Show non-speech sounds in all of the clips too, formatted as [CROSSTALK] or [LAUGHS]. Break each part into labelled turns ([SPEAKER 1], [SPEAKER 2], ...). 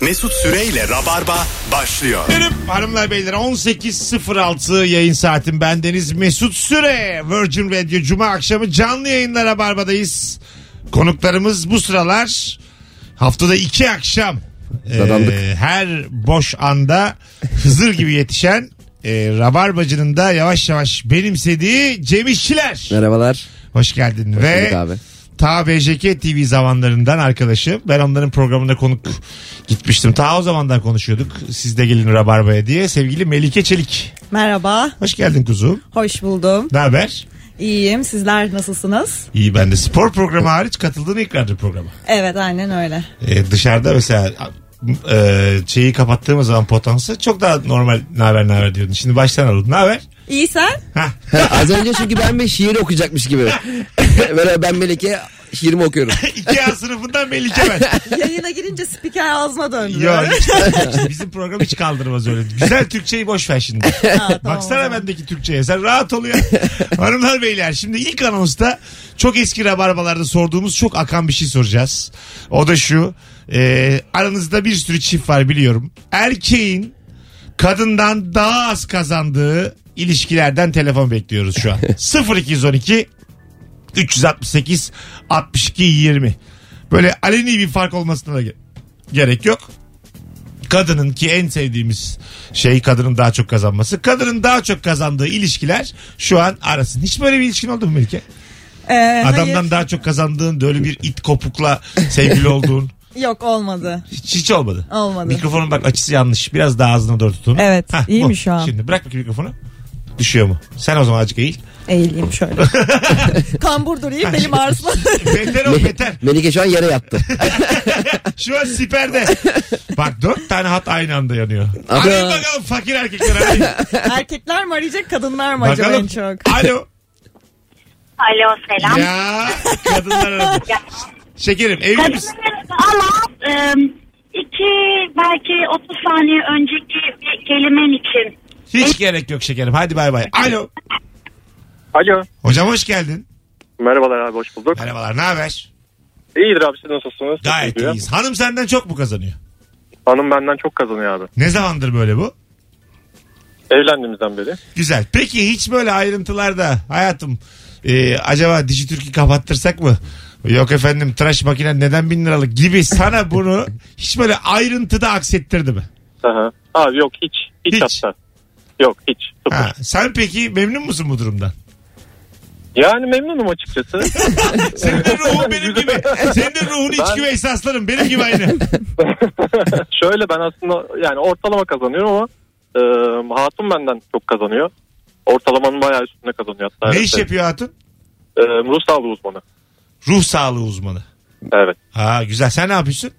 [SPEAKER 1] Mesut Süreyle Rabarba başlıyor.
[SPEAKER 2] Efendim, Hanımlar beyler 18.06 yayın saatim bendeniz Mesut Süre Virgin Radio Cuma akşamı canlı yayınlara barbadayız. Konuklarımız bu sıralar haftada iki akşam e,
[SPEAKER 3] Dadandık.
[SPEAKER 2] her boş anda Hızır gibi yetişen e, Rabarbacı'nın da yavaş yavaş benimsediği Cem İşçiler.
[SPEAKER 3] Merhabalar.
[SPEAKER 2] Hoş geldin ve
[SPEAKER 3] Bulduk abi.
[SPEAKER 2] Ta BJK TV zamanlarından arkadaşım. Ben onların programına konuk gitmiştim. Ta o zamandan konuşuyorduk. Siz de gelin Rabarba'ya diye. Sevgili Melike Çelik.
[SPEAKER 4] Merhaba,
[SPEAKER 2] Hoş geldin kuzum.
[SPEAKER 4] hoş buldum.
[SPEAKER 2] Ne haber?
[SPEAKER 4] İyiyim, sizler nasılsınız?
[SPEAKER 2] İyi ben de spor programı hariç katıldığın ilk radyo programı.
[SPEAKER 4] Evet, aynen öyle.
[SPEAKER 2] Ee, dışarıda mesela e, şeyi kapattığımız zaman potansı çok daha normal ne haber ne haber diyordun. Şimdi baştan alalım. Ne haber?
[SPEAKER 4] İyi sen?
[SPEAKER 3] [LAUGHS] Az önce çünkü ben bir şiir okuyacakmış gibi. [LAUGHS] Böyle ben Melike şiirimi okuyorum.
[SPEAKER 2] 2A sınıfından Melike
[SPEAKER 4] [LAUGHS]
[SPEAKER 2] ben.
[SPEAKER 4] Yayına girince spiker ağzına döndü.
[SPEAKER 2] Yok işte bizim program hiç kaldırmaz öyle. Güzel Türkçeyi boş ver şimdi. Baksana bendeki Türkçeye sen rahat ol ya. Hanımlar beyler şimdi ilk anonsta çok eski rabarbalarda sorduğumuz çok akan bir şey soracağız. O da şu e, aranızda bir sürü çift var biliyorum. Erkeğin kadından daha az kazandığı ilişkilerden telefon bekliyoruz şu an. 0212 368 62 20. Böyle aleni bir fark olmasına da ge- gerek yok. Kadının ki en sevdiğimiz şey kadının daha çok kazanması. Kadının daha çok kazandığı ilişkiler şu an arasın. Hiç böyle bir ilişkin oldu mu Melike?
[SPEAKER 4] [LAUGHS] Ee,
[SPEAKER 2] Adamdan
[SPEAKER 4] hayır.
[SPEAKER 2] daha çok kazandığın böyle bir it kopukla
[SPEAKER 4] [LAUGHS]
[SPEAKER 2] sevgili olduğun
[SPEAKER 4] Yok olmadı.
[SPEAKER 2] hiç, hiç olmadı.
[SPEAKER 4] Olmadı.
[SPEAKER 2] Mikrofonun bak açısı yanlış. Biraz daha ağzına doğru tutun.
[SPEAKER 4] Evet, iyi
[SPEAKER 2] bu.
[SPEAKER 4] mi şu an?
[SPEAKER 2] Şimdi bırak bakayım mikrofonu. Düşüyor mu? Sen o zaman azıcık eğil.
[SPEAKER 4] Eğileyim
[SPEAKER 2] [LAUGHS]
[SPEAKER 4] şöyle. Kambur durayım, belim ağrısına.
[SPEAKER 2] beter o beter.
[SPEAKER 3] Melike şu an yere yattı.
[SPEAKER 2] [LAUGHS] Şu an siperde. Bak dört tane hat aynı anda yanıyor.
[SPEAKER 3] Ana.
[SPEAKER 2] Arayın bakalım fakir erkekler arayın.
[SPEAKER 4] Erkekler mi arayacak, kadınlar mı acaba en
[SPEAKER 2] bakalım.
[SPEAKER 4] çok?
[SPEAKER 2] Alo.
[SPEAKER 5] Alo selam.
[SPEAKER 2] Ya kadınlar aradı.
[SPEAKER 5] Ya,
[SPEAKER 2] Şekerim evli misin?
[SPEAKER 5] Kadınlarız ama e, iki belki 30 saniye önceki bir kelimen için.
[SPEAKER 2] Hiç gerek yok şekerim. Hadi bay bay. Alo.
[SPEAKER 6] Alo.
[SPEAKER 2] Hocam hoş geldin.
[SPEAKER 6] Merhabalar abi hoş bulduk.
[SPEAKER 2] Merhabalar. Ne haber?
[SPEAKER 6] İyidir abi siz nasılsınız?
[SPEAKER 2] Gayet
[SPEAKER 6] Çok iyi.
[SPEAKER 2] iyiyiz. Hanım senden çok mu kazanıyor?
[SPEAKER 6] Hanım benden çok kazanıyor abi.
[SPEAKER 2] Ne zamandır böyle bu?
[SPEAKER 6] Evlendiğimizden beri.
[SPEAKER 2] Güzel. Peki hiç böyle ayrıntılarda hayatım e, acaba Dijitürk'ü kapattırsak mı? Yok efendim tıraş makinen neden bin liralık gibi
[SPEAKER 6] [LAUGHS]
[SPEAKER 2] sana bunu hiç böyle ayrıntıda aksettirdi mi?
[SPEAKER 6] Aha. Abi yok hiç. Hiç,
[SPEAKER 2] Hiç.
[SPEAKER 6] hatta. Yok hiç. Sıfır.
[SPEAKER 2] Ha, sen peki memnun musun
[SPEAKER 6] [LAUGHS]
[SPEAKER 2] bu durumdan?
[SPEAKER 6] Yani memnunum
[SPEAKER 2] [LAUGHS]
[SPEAKER 6] açıkçası. [LAUGHS]
[SPEAKER 2] Senin de ruhun benim gibi. Senin de ruhun iç
[SPEAKER 6] Ben-
[SPEAKER 2] güveysi aslanım. Benim gibi aynı.
[SPEAKER 6] Şöyle ben aslında yani ortalama kazanıyorum ama e, hatun benden çok kazanıyor. Ortalamanın bayağı üstünde kazanıyor hatta.
[SPEAKER 2] Ne
[SPEAKER 6] Evet,
[SPEAKER 2] iş
[SPEAKER 6] evet.
[SPEAKER 2] yapıyor hatun?
[SPEAKER 6] E, ruh sağlığı uzmanı.
[SPEAKER 2] Ruh sağlığı uzmanı.
[SPEAKER 6] Evet.
[SPEAKER 2] Ha güzel. Sen ne yapıyorsun?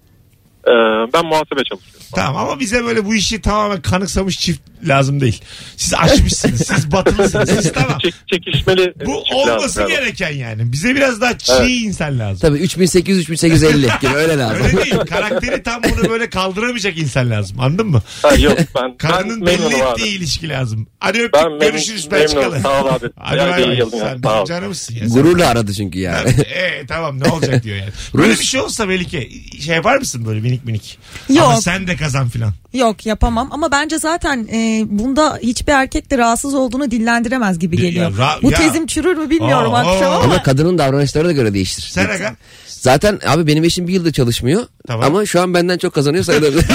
[SPEAKER 6] E, ben muhasebe çalışıyorum.
[SPEAKER 2] Tamam ama bize böyle bu işi tamamen kanıksamış çift lazım değil. Siz aşmışsınız. siz batılısınız. Siz tamam.
[SPEAKER 6] Çek- çekişmeli. e,
[SPEAKER 2] Bu
[SPEAKER 6] çift lazım
[SPEAKER 2] olması
[SPEAKER 6] galiba.
[SPEAKER 2] gereken yani. Bize biraz daha çiğ
[SPEAKER 6] Evet.
[SPEAKER 2] insan lazım.
[SPEAKER 3] Tabii
[SPEAKER 2] [LAUGHS]
[SPEAKER 3] 3800-3850 gibi öyle lazım.
[SPEAKER 2] Öyle değil. Karakteri tam bunu böyle kaldıramayacak insan lazım. Anladın mı?
[SPEAKER 6] Ha, yok ben, ben
[SPEAKER 2] Karnının belli
[SPEAKER 6] memnunum abi.
[SPEAKER 2] ettiği ilişki lazım. Hadi öptük.
[SPEAKER 6] Ben memnun,
[SPEAKER 2] Görüşürüz Belçikalı.
[SPEAKER 6] memnunum. Sağ ol abi.
[SPEAKER 2] Hadi
[SPEAKER 6] Yani
[SPEAKER 2] bay
[SPEAKER 6] iyi
[SPEAKER 2] bay.
[SPEAKER 6] yılın ya.
[SPEAKER 2] Sen
[SPEAKER 6] Sağ
[SPEAKER 2] bizim
[SPEAKER 6] ol.
[SPEAKER 2] canımsın ya. Sen-
[SPEAKER 3] Gururla aradı çünkü yani.
[SPEAKER 2] Ee, tamam ne olacak diyor yani. Böyle
[SPEAKER 3] Rus-
[SPEAKER 2] bir şey olsa Melike şey yapar mısın böyle minik minik?
[SPEAKER 4] Yok.
[SPEAKER 2] Ama sen de kazan filan.
[SPEAKER 4] Yok yapamam ama bence zaten e, bunda hiçbir erkek de rahatsız olduğunu dillendiremez gibi
[SPEAKER 2] Ya,
[SPEAKER 4] geliyor.
[SPEAKER 2] ra-
[SPEAKER 4] Bu
[SPEAKER 2] ya.
[SPEAKER 4] tezim çürür mü [LAUGHS] bilmiyorum
[SPEAKER 2] Aa,
[SPEAKER 4] akşam
[SPEAKER 2] aa.
[SPEAKER 4] ama.
[SPEAKER 3] Ama kadının davranışlarına da göre değişir.
[SPEAKER 2] Sen aga.
[SPEAKER 3] Zaten abi benim eşim bir yılda çalışmıyor.
[SPEAKER 2] Tamam.
[SPEAKER 3] Ama şu an benden çok kazanıyor
[SPEAKER 2] [LAUGHS]
[SPEAKER 3] sayılabilir. [LAUGHS]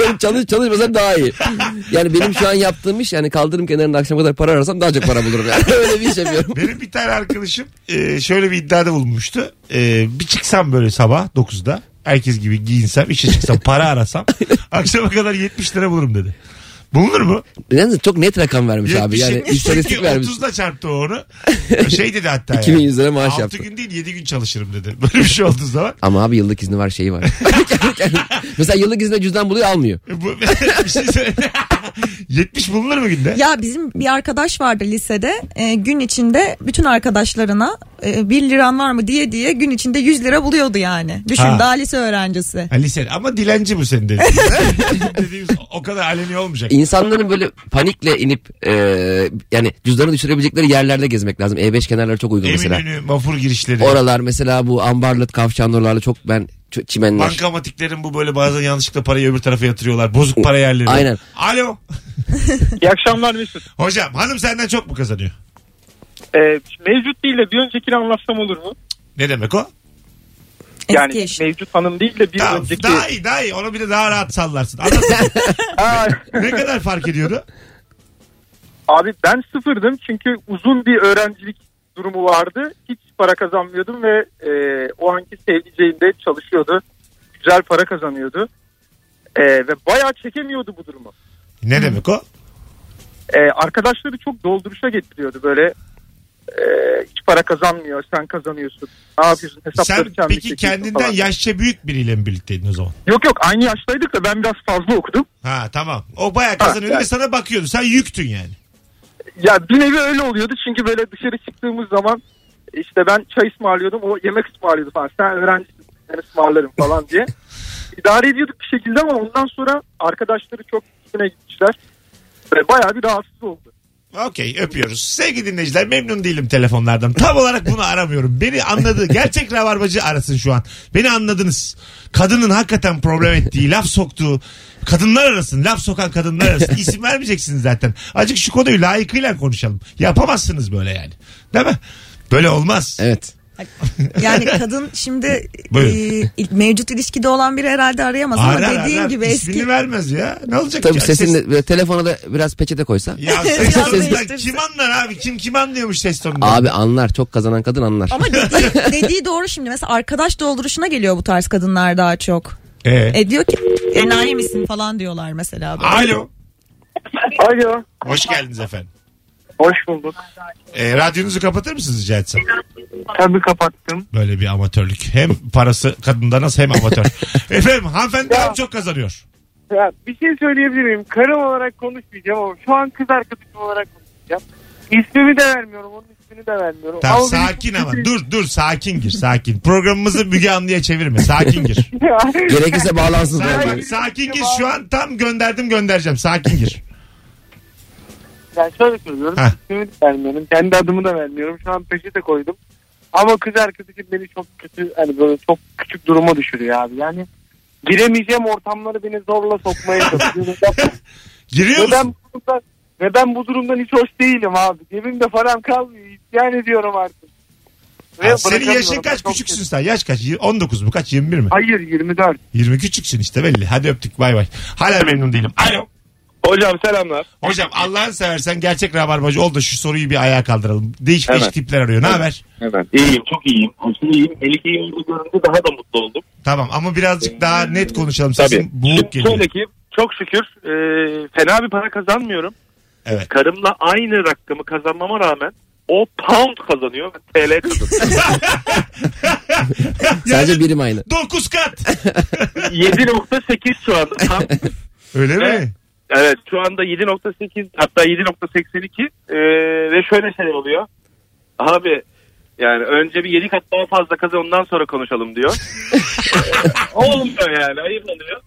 [SPEAKER 3] benim çalış çalışmasam daha iyi. Yani benim şu an yaptığım iş yani kaldırım kenarında akşama kadar para arasam daha çok para bulurum. Yani [LAUGHS] öyle bir iş yapıyorum.
[SPEAKER 2] Benim bir tane arkadaşım e, şöyle bir iddiada bulunmuştu. E, bir çıksam böyle sabah 9'da herkes gibi giyinsem işe çıksam [LAUGHS] para arasam akşama kadar 70 lira bulurum dedi. Bulunur mu?
[SPEAKER 3] Yalnız çok net rakam vermiş abi.
[SPEAKER 2] 70
[SPEAKER 3] Yani
[SPEAKER 2] 70
[SPEAKER 3] istatistik
[SPEAKER 2] çünkü
[SPEAKER 3] vermiş.
[SPEAKER 2] 30'da çarptı o onu. Şey dedi hatta.
[SPEAKER 3] 2100 lira maaş
[SPEAKER 2] 6
[SPEAKER 3] yaptı.
[SPEAKER 2] gün değil 7 gün çalışırım dedi. Böyle bir şey olduğu zaman.
[SPEAKER 3] Ama abi yıllık izni var şeyi
[SPEAKER 2] [LAUGHS]
[SPEAKER 3] var. Mesela yıllık izinde cüzdan buluyor almıyor.
[SPEAKER 2] Bu, [LAUGHS] bir şey söyle. 70 bulunur mu günde?
[SPEAKER 4] Ya bizim bir arkadaş vardı lisede e, gün içinde bütün arkadaşlarına e, 1 liran var mı diye diye gün içinde 100 lira buluyordu yani. Düşün
[SPEAKER 2] Ha.
[SPEAKER 4] daha lise öğrencisi.
[SPEAKER 2] Ha, lise ama dilenci bu senin dediğin. Dediğimiz o kadar aleni olmayacak.
[SPEAKER 3] [LAUGHS] İnsanların böyle panikle inip e, yani cüzdanı düşürebilecekleri yerlerde gezmek lazım. E5 kenarları çok uygun mesela.
[SPEAKER 2] Eminönü, mafur girişleri.
[SPEAKER 3] Oralar mesela bu ambarlı kavşanlarla çok ben ç- çimenler.
[SPEAKER 2] Bankamatiklerin bu böyle bazen yanlışlıkla parayı öbür tarafa yatırıyorlar. Bozuk para yerleri.
[SPEAKER 3] Aynen.
[SPEAKER 2] Alo.
[SPEAKER 1] İyi akşamlar Mesut.
[SPEAKER 2] Hocam hanım senden çok mu kazanıyor?
[SPEAKER 1] Ee, mevcut değil de bir öncekini anlatsam olur mu?
[SPEAKER 2] Ne demek o?
[SPEAKER 4] Eski
[SPEAKER 1] Yani
[SPEAKER 4] eş.
[SPEAKER 1] mevcut hanım değil de bir
[SPEAKER 2] Tamam,
[SPEAKER 1] önceki.
[SPEAKER 2] Daha iyi daha iyi. Onu bir de daha rahat sallarsın. Anlatsana.
[SPEAKER 1] [LAUGHS] Aa,
[SPEAKER 2] ne kadar fark ediyordu?
[SPEAKER 1] abi ben sıfırdım çünkü uzun bir öğrencilik durumu vardı. Hiç para kazanmıyordum ve e, o anki sevdiceğim de çalışıyordu. Güzel para kazanıyordu. E, ve bayağı çekemiyordu bu durumu.
[SPEAKER 2] Ne demek o?
[SPEAKER 1] Ee, arkadaşları çok dolduruşa getiriyordu böyle e, hiç para kazanmıyor sen kazanıyorsun ne yapıyorsun hesapları
[SPEAKER 2] Sen
[SPEAKER 1] kendin
[SPEAKER 2] peki
[SPEAKER 1] çekiyorsun
[SPEAKER 2] kendinden
[SPEAKER 1] falan.
[SPEAKER 2] yaşça büyük biriyle mi birlikteydin o zaman?
[SPEAKER 1] yok yok aynı yaştaydık da ben biraz fazla okudum
[SPEAKER 2] Ha tamam. O bayağı kazanıyordu
[SPEAKER 1] Ha,
[SPEAKER 2] ve
[SPEAKER 1] yani.
[SPEAKER 2] sana bakıyordu. Sen yüktün yani.
[SPEAKER 1] ya bir nevi öyle oluyordu çünkü böyle dışarı çıktığımız zaman işte ben çay ısmarlıyordum o yemek ısmarlıyordu falan sen öğrencisin ben ısmarlarım
[SPEAKER 2] [LAUGHS]
[SPEAKER 1] falan diye idare ediyorduk bir şekilde ama ondan sonra arkadaşları çok üstüne gitmişler ve bayağı bir rahatsız oldu
[SPEAKER 2] Okey öpüyoruz. Sevgili dinleyiciler memnun değilim telefonlardan. Tam olarak bunu aramıyorum. Beni anladı. Gerçek rabarbacı arasın şu an. Beni anladınız. Kadının hakikaten problem ettiği, laf soktuğu, kadınlar arasın, laf sokan kadınlar arasın. İsim vermeyeceksiniz zaten. Acık şu konuyu layıkıyla konuşalım. Yapamazsınız böyle yani. Değil mi? Böyle olmaz.
[SPEAKER 3] Evet.
[SPEAKER 2] [LAUGHS]
[SPEAKER 4] Yani kadın şimdi
[SPEAKER 2] Buyurun.
[SPEAKER 4] e, mevcut ilişkide olan biri herhalde arayamaz ama
[SPEAKER 2] Arar
[SPEAKER 4] dediğin
[SPEAKER 2] arar.
[SPEAKER 4] gibi
[SPEAKER 2] İsmini
[SPEAKER 4] eski
[SPEAKER 2] vermez ya. Ne olacak?
[SPEAKER 3] Tabii
[SPEAKER 2] ki?
[SPEAKER 3] sesini
[SPEAKER 2] Ses-
[SPEAKER 3] böyle telefona da biraz peçete koysa.
[SPEAKER 2] Ya ses
[SPEAKER 4] Biraz
[SPEAKER 2] tonundan
[SPEAKER 4] değiştirse.
[SPEAKER 2] kim anlar abi? Kim kim anlıyormuş ses tonundan?
[SPEAKER 3] Abi anlar çok kazanan kadın anlar. [LAUGHS]
[SPEAKER 4] ama dediği, [LAUGHS] dediği doğru şimdi. Mesela arkadaş dolduruşuna geliyor bu tarz kadınlar daha çok.
[SPEAKER 2] Ee,
[SPEAKER 4] E diyor ki enayi misin falan diyorlar mesela. böyle.
[SPEAKER 2] Alo.
[SPEAKER 1] alo
[SPEAKER 2] Hoş geldiniz efendim.
[SPEAKER 1] hoş bulduk
[SPEAKER 2] Ee, radyonuzu kapatır mısınız rica etsem?
[SPEAKER 1] tabii kapattım
[SPEAKER 2] Böyle bir amatörlük. Hem parası kadından az hem
[SPEAKER 1] [LAUGHS]
[SPEAKER 2] amatör. efendim hanımefendi
[SPEAKER 7] Ya.
[SPEAKER 2] hem çok kazanıyor.
[SPEAKER 7] Ya bir şey söyleyebilir miyim? Karım olarak konuşmayacağım ama şu an kız arkadaşım olarak konuşacağım. İsmimi de vermiyorum, onun ismini de vermiyorum.
[SPEAKER 2] Tamam
[SPEAKER 7] benim-
[SPEAKER 2] sakin ama dur dur sakin gir sakin. Programımızı Müge Anlı'ya çevirme sakin
[SPEAKER 1] [LAUGHS]
[SPEAKER 2] gir.
[SPEAKER 3] Gerekirse bağlansın. falan
[SPEAKER 2] sakin,
[SPEAKER 3] diyor.
[SPEAKER 2] sakin gir şu an tam gönderdim göndereceğim sakin gir.
[SPEAKER 7] Yani şöyle söylüyorum,
[SPEAKER 2] Heh.
[SPEAKER 7] ismimi de vermiyorum, kendi adımı da vermiyorum. Şu an peşete koydum. Ama kız arkadaşım beni çok kötü, hani böyle çok küçük duruma düşürüyor abi. Yani giremeyeceğim ortamları beni zorla sokmaya çalışıyor.
[SPEAKER 2] [LAUGHS] Giriyor
[SPEAKER 7] ve, ben
[SPEAKER 2] musun?
[SPEAKER 7] bu durumdan, ve ben bu durumdan hiç hoş değilim abi. Cebimde param kalmıyor, isyan ediyorum artık. Ve
[SPEAKER 2] Ha, senin yaşın
[SPEAKER 7] bırakamıyorum.
[SPEAKER 2] kaç
[SPEAKER 7] Çok
[SPEAKER 2] küçüksün sen yaş kaç 19 mu kaç 21 mi?
[SPEAKER 7] Hayır 24.
[SPEAKER 2] 20 küçüksün işte belli hadi öptük bay bay. Hala memnun değilim. Alo.
[SPEAKER 1] hocam selamlar
[SPEAKER 2] Hocam Allah'ını seversen gerçek rabarbacı ol da şu soruyu bir ayağa kaldıralım. Değişik değişik
[SPEAKER 1] Evet.
[SPEAKER 2] tipler arıyor. Ne haber?
[SPEAKER 1] Evet. İyiyim çok iyiyim. Aşırı iyiyim. Melike'yi orada görünce daha da mutlu oldum.
[SPEAKER 2] Tamam ama birazcık daha net konuşalım. Sesin boğuk
[SPEAKER 1] Şimdi
[SPEAKER 2] geliyor.
[SPEAKER 1] şöyle ki çok şükür e, fena bir para kazanmıyorum.
[SPEAKER 2] Evet.
[SPEAKER 1] Karımla aynı rakamı kazanmama rağmen o pound kazanıyor. ben TL kazanıyor.
[SPEAKER 2] [LAUGHS]
[SPEAKER 3] Sadece birim aynı.
[SPEAKER 2] 9 kat.
[SPEAKER 1] 7.8 şu
[SPEAKER 3] [LAUGHS]
[SPEAKER 1] anda. Tam.
[SPEAKER 2] Öyle
[SPEAKER 1] Evet.
[SPEAKER 2] mi?
[SPEAKER 1] Evet şu anda 7.8 hatta 7.82 e, ve şöyle şey oluyor. Abi yani önce bir 7 kat daha fazla kazan ondan sonra
[SPEAKER 3] [LAUGHS]
[SPEAKER 1] konuşalım diyor. E, Olmuyor yani ayıp oluyor.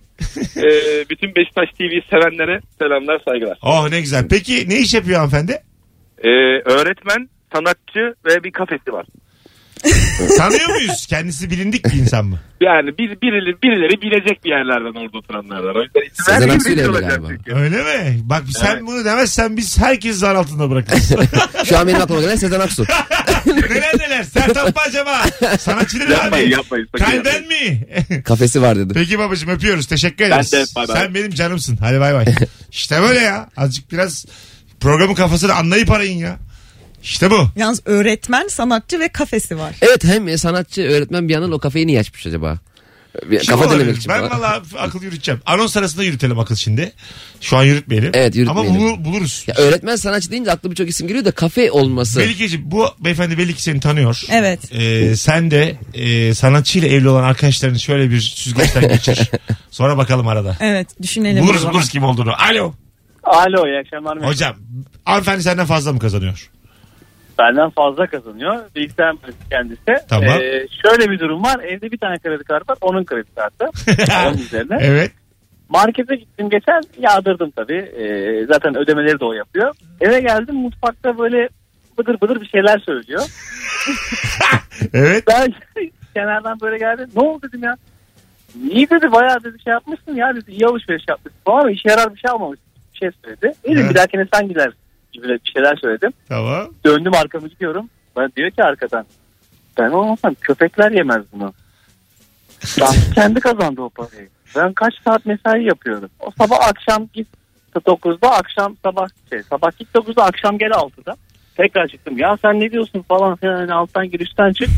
[SPEAKER 1] E, bütün Beşiktaş TV sevenlere selamlar saygılar.
[SPEAKER 2] Oh ne güzel. Peki ne iş yapıyor
[SPEAKER 1] [LAUGHS]
[SPEAKER 2] hanımefendi?
[SPEAKER 1] Ee, öğretmen, sanatçı ve bir kafesi var.
[SPEAKER 2] Tanıyor muyuz? Kendisi bilindik bir insan mı?
[SPEAKER 1] Yani bir, birileri, birileri bilecek bir yerlerden orada oturanlardan. O yüzden isim
[SPEAKER 3] Sezen
[SPEAKER 1] vermeyeyim,
[SPEAKER 3] Aksu ile
[SPEAKER 1] rezil
[SPEAKER 3] evli
[SPEAKER 1] olacağım
[SPEAKER 3] galiba.
[SPEAKER 1] çünkü.
[SPEAKER 2] Öyle mi? Bak sen
[SPEAKER 1] Evet.
[SPEAKER 2] bunu demezsen biz herkesi zar altında bırakırız.
[SPEAKER 3] [LAUGHS] Şu an benim aklıma gelen Sezen Aksu.
[SPEAKER 2] [LAUGHS] neler neler? Sertan mı acaba? Sanatçı nedir abi?
[SPEAKER 1] Yapmayın yapmayın. sakın
[SPEAKER 2] Kalben
[SPEAKER 1] yapmayın.
[SPEAKER 2] mi?
[SPEAKER 3] Kafesi var dedi.
[SPEAKER 2] Peki babacığım öpüyoruz. Teşekkür ederiz.
[SPEAKER 1] Ben de, bay bay.
[SPEAKER 2] Sen benim canımsın. Hadi
[SPEAKER 3] [LAUGHS]
[SPEAKER 2] bay bay. işte böyle ya. Azıcık biraz programın kafasını anlayıp arayın ya. İşte bu.
[SPEAKER 4] Yalnız öğretmen, sanatçı ve kafesi var.
[SPEAKER 3] Evet hem sanatçı öğretmen bir yandan o kafeyi niye açmış acaba? Bir
[SPEAKER 2] Kim
[SPEAKER 3] Kafa
[SPEAKER 2] olabilir?
[SPEAKER 3] denemek için.
[SPEAKER 2] Ben
[SPEAKER 3] falan.
[SPEAKER 2] valla akıl yürüteceğim. Anons arasında yürütelim akıl şimdi. Şu an yürütmeyelim.
[SPEAKER 3] Evet, yürütmeyelim.
[SPEAKER 2] Ama bulur- buluruz.
[SPEAKER 3] Ya öğretmen sanatçı deyince aklı birçok isim geliyor da kafe olması.
[SPEAKER 2] Melike'ciğim bu beyefendi belli ki seni tanıyor.
[SPEAKER 4] Evet.
[SPEAKER 2] Ee, sen de e, sanatçıyla evli olan arkadaşlarını şöyle bir süzgeçten geçir. Sonra bakalım arada. [LAUGHS]
[SPEAKER 4] Evet düşünelim.
[SPEAKER 2] Buluruz buluruz kim olduğunu. Alo.
[SPEAKER 7] Alo iyi akşamlar. Mesut.
[SPEAKER 2] Hocam hanımefendi senden fazla mı kazanıyor?
[SPEAKER 7] Benden fazla kazanıyor. Bilgisayar mühendisi kendisi.
[SPEAKER 2] Tamam.
[SPEAKER 7] Ee, şöyle bir durum var. Evde bir tane kredi kartı var. Onun kredi
[SPEAKER 2] [LAUGHS]
[SPEAKER 7] kartı. onun üzerine.
[SPEAKER 2] evet.
[SPEAKER 7] Markete gittim geçen yağdırdım tabii. Ee, zaten ödemeleri de o yapıyor. Eve geldim mutfakta böyle bıdır bıdır bir şeyler söylüyor. [LAUGHS]
[SPEAKER 2] Evet.
[SPEAKER 7] Ben kenardan böyle geldim. Ne oldu dedim ya.
[SPEAKER 8] İyi dedi bayağı dedi şey yapmışsın ya dedi iyi alışveriş yapmışsın falan ama işe yarar bir şey almamış. Bir şey söyledi. İyi dedim,
[SPEAKER 2] Evet.
[SPEAKER 8] bir dahakine sen gidersin gibi bir şeyler söyledim.
[SPEAKER 2] Tamam.
[SPEAKER 8] Döndüm arkamı gidiyorum. Bana diyor ki arkadan ben olmasam köpekler yemez bunu. Ben kendi kazandı o parayı. Ben kaç saat mesai yapıyorum. O sabah akşam git 9'da akşam sabah şey, sabah git 9'da akşam gel 6'da. Tekrar çıktım. Ya sen ne diyorsun falan filan hani alttan girişten çık.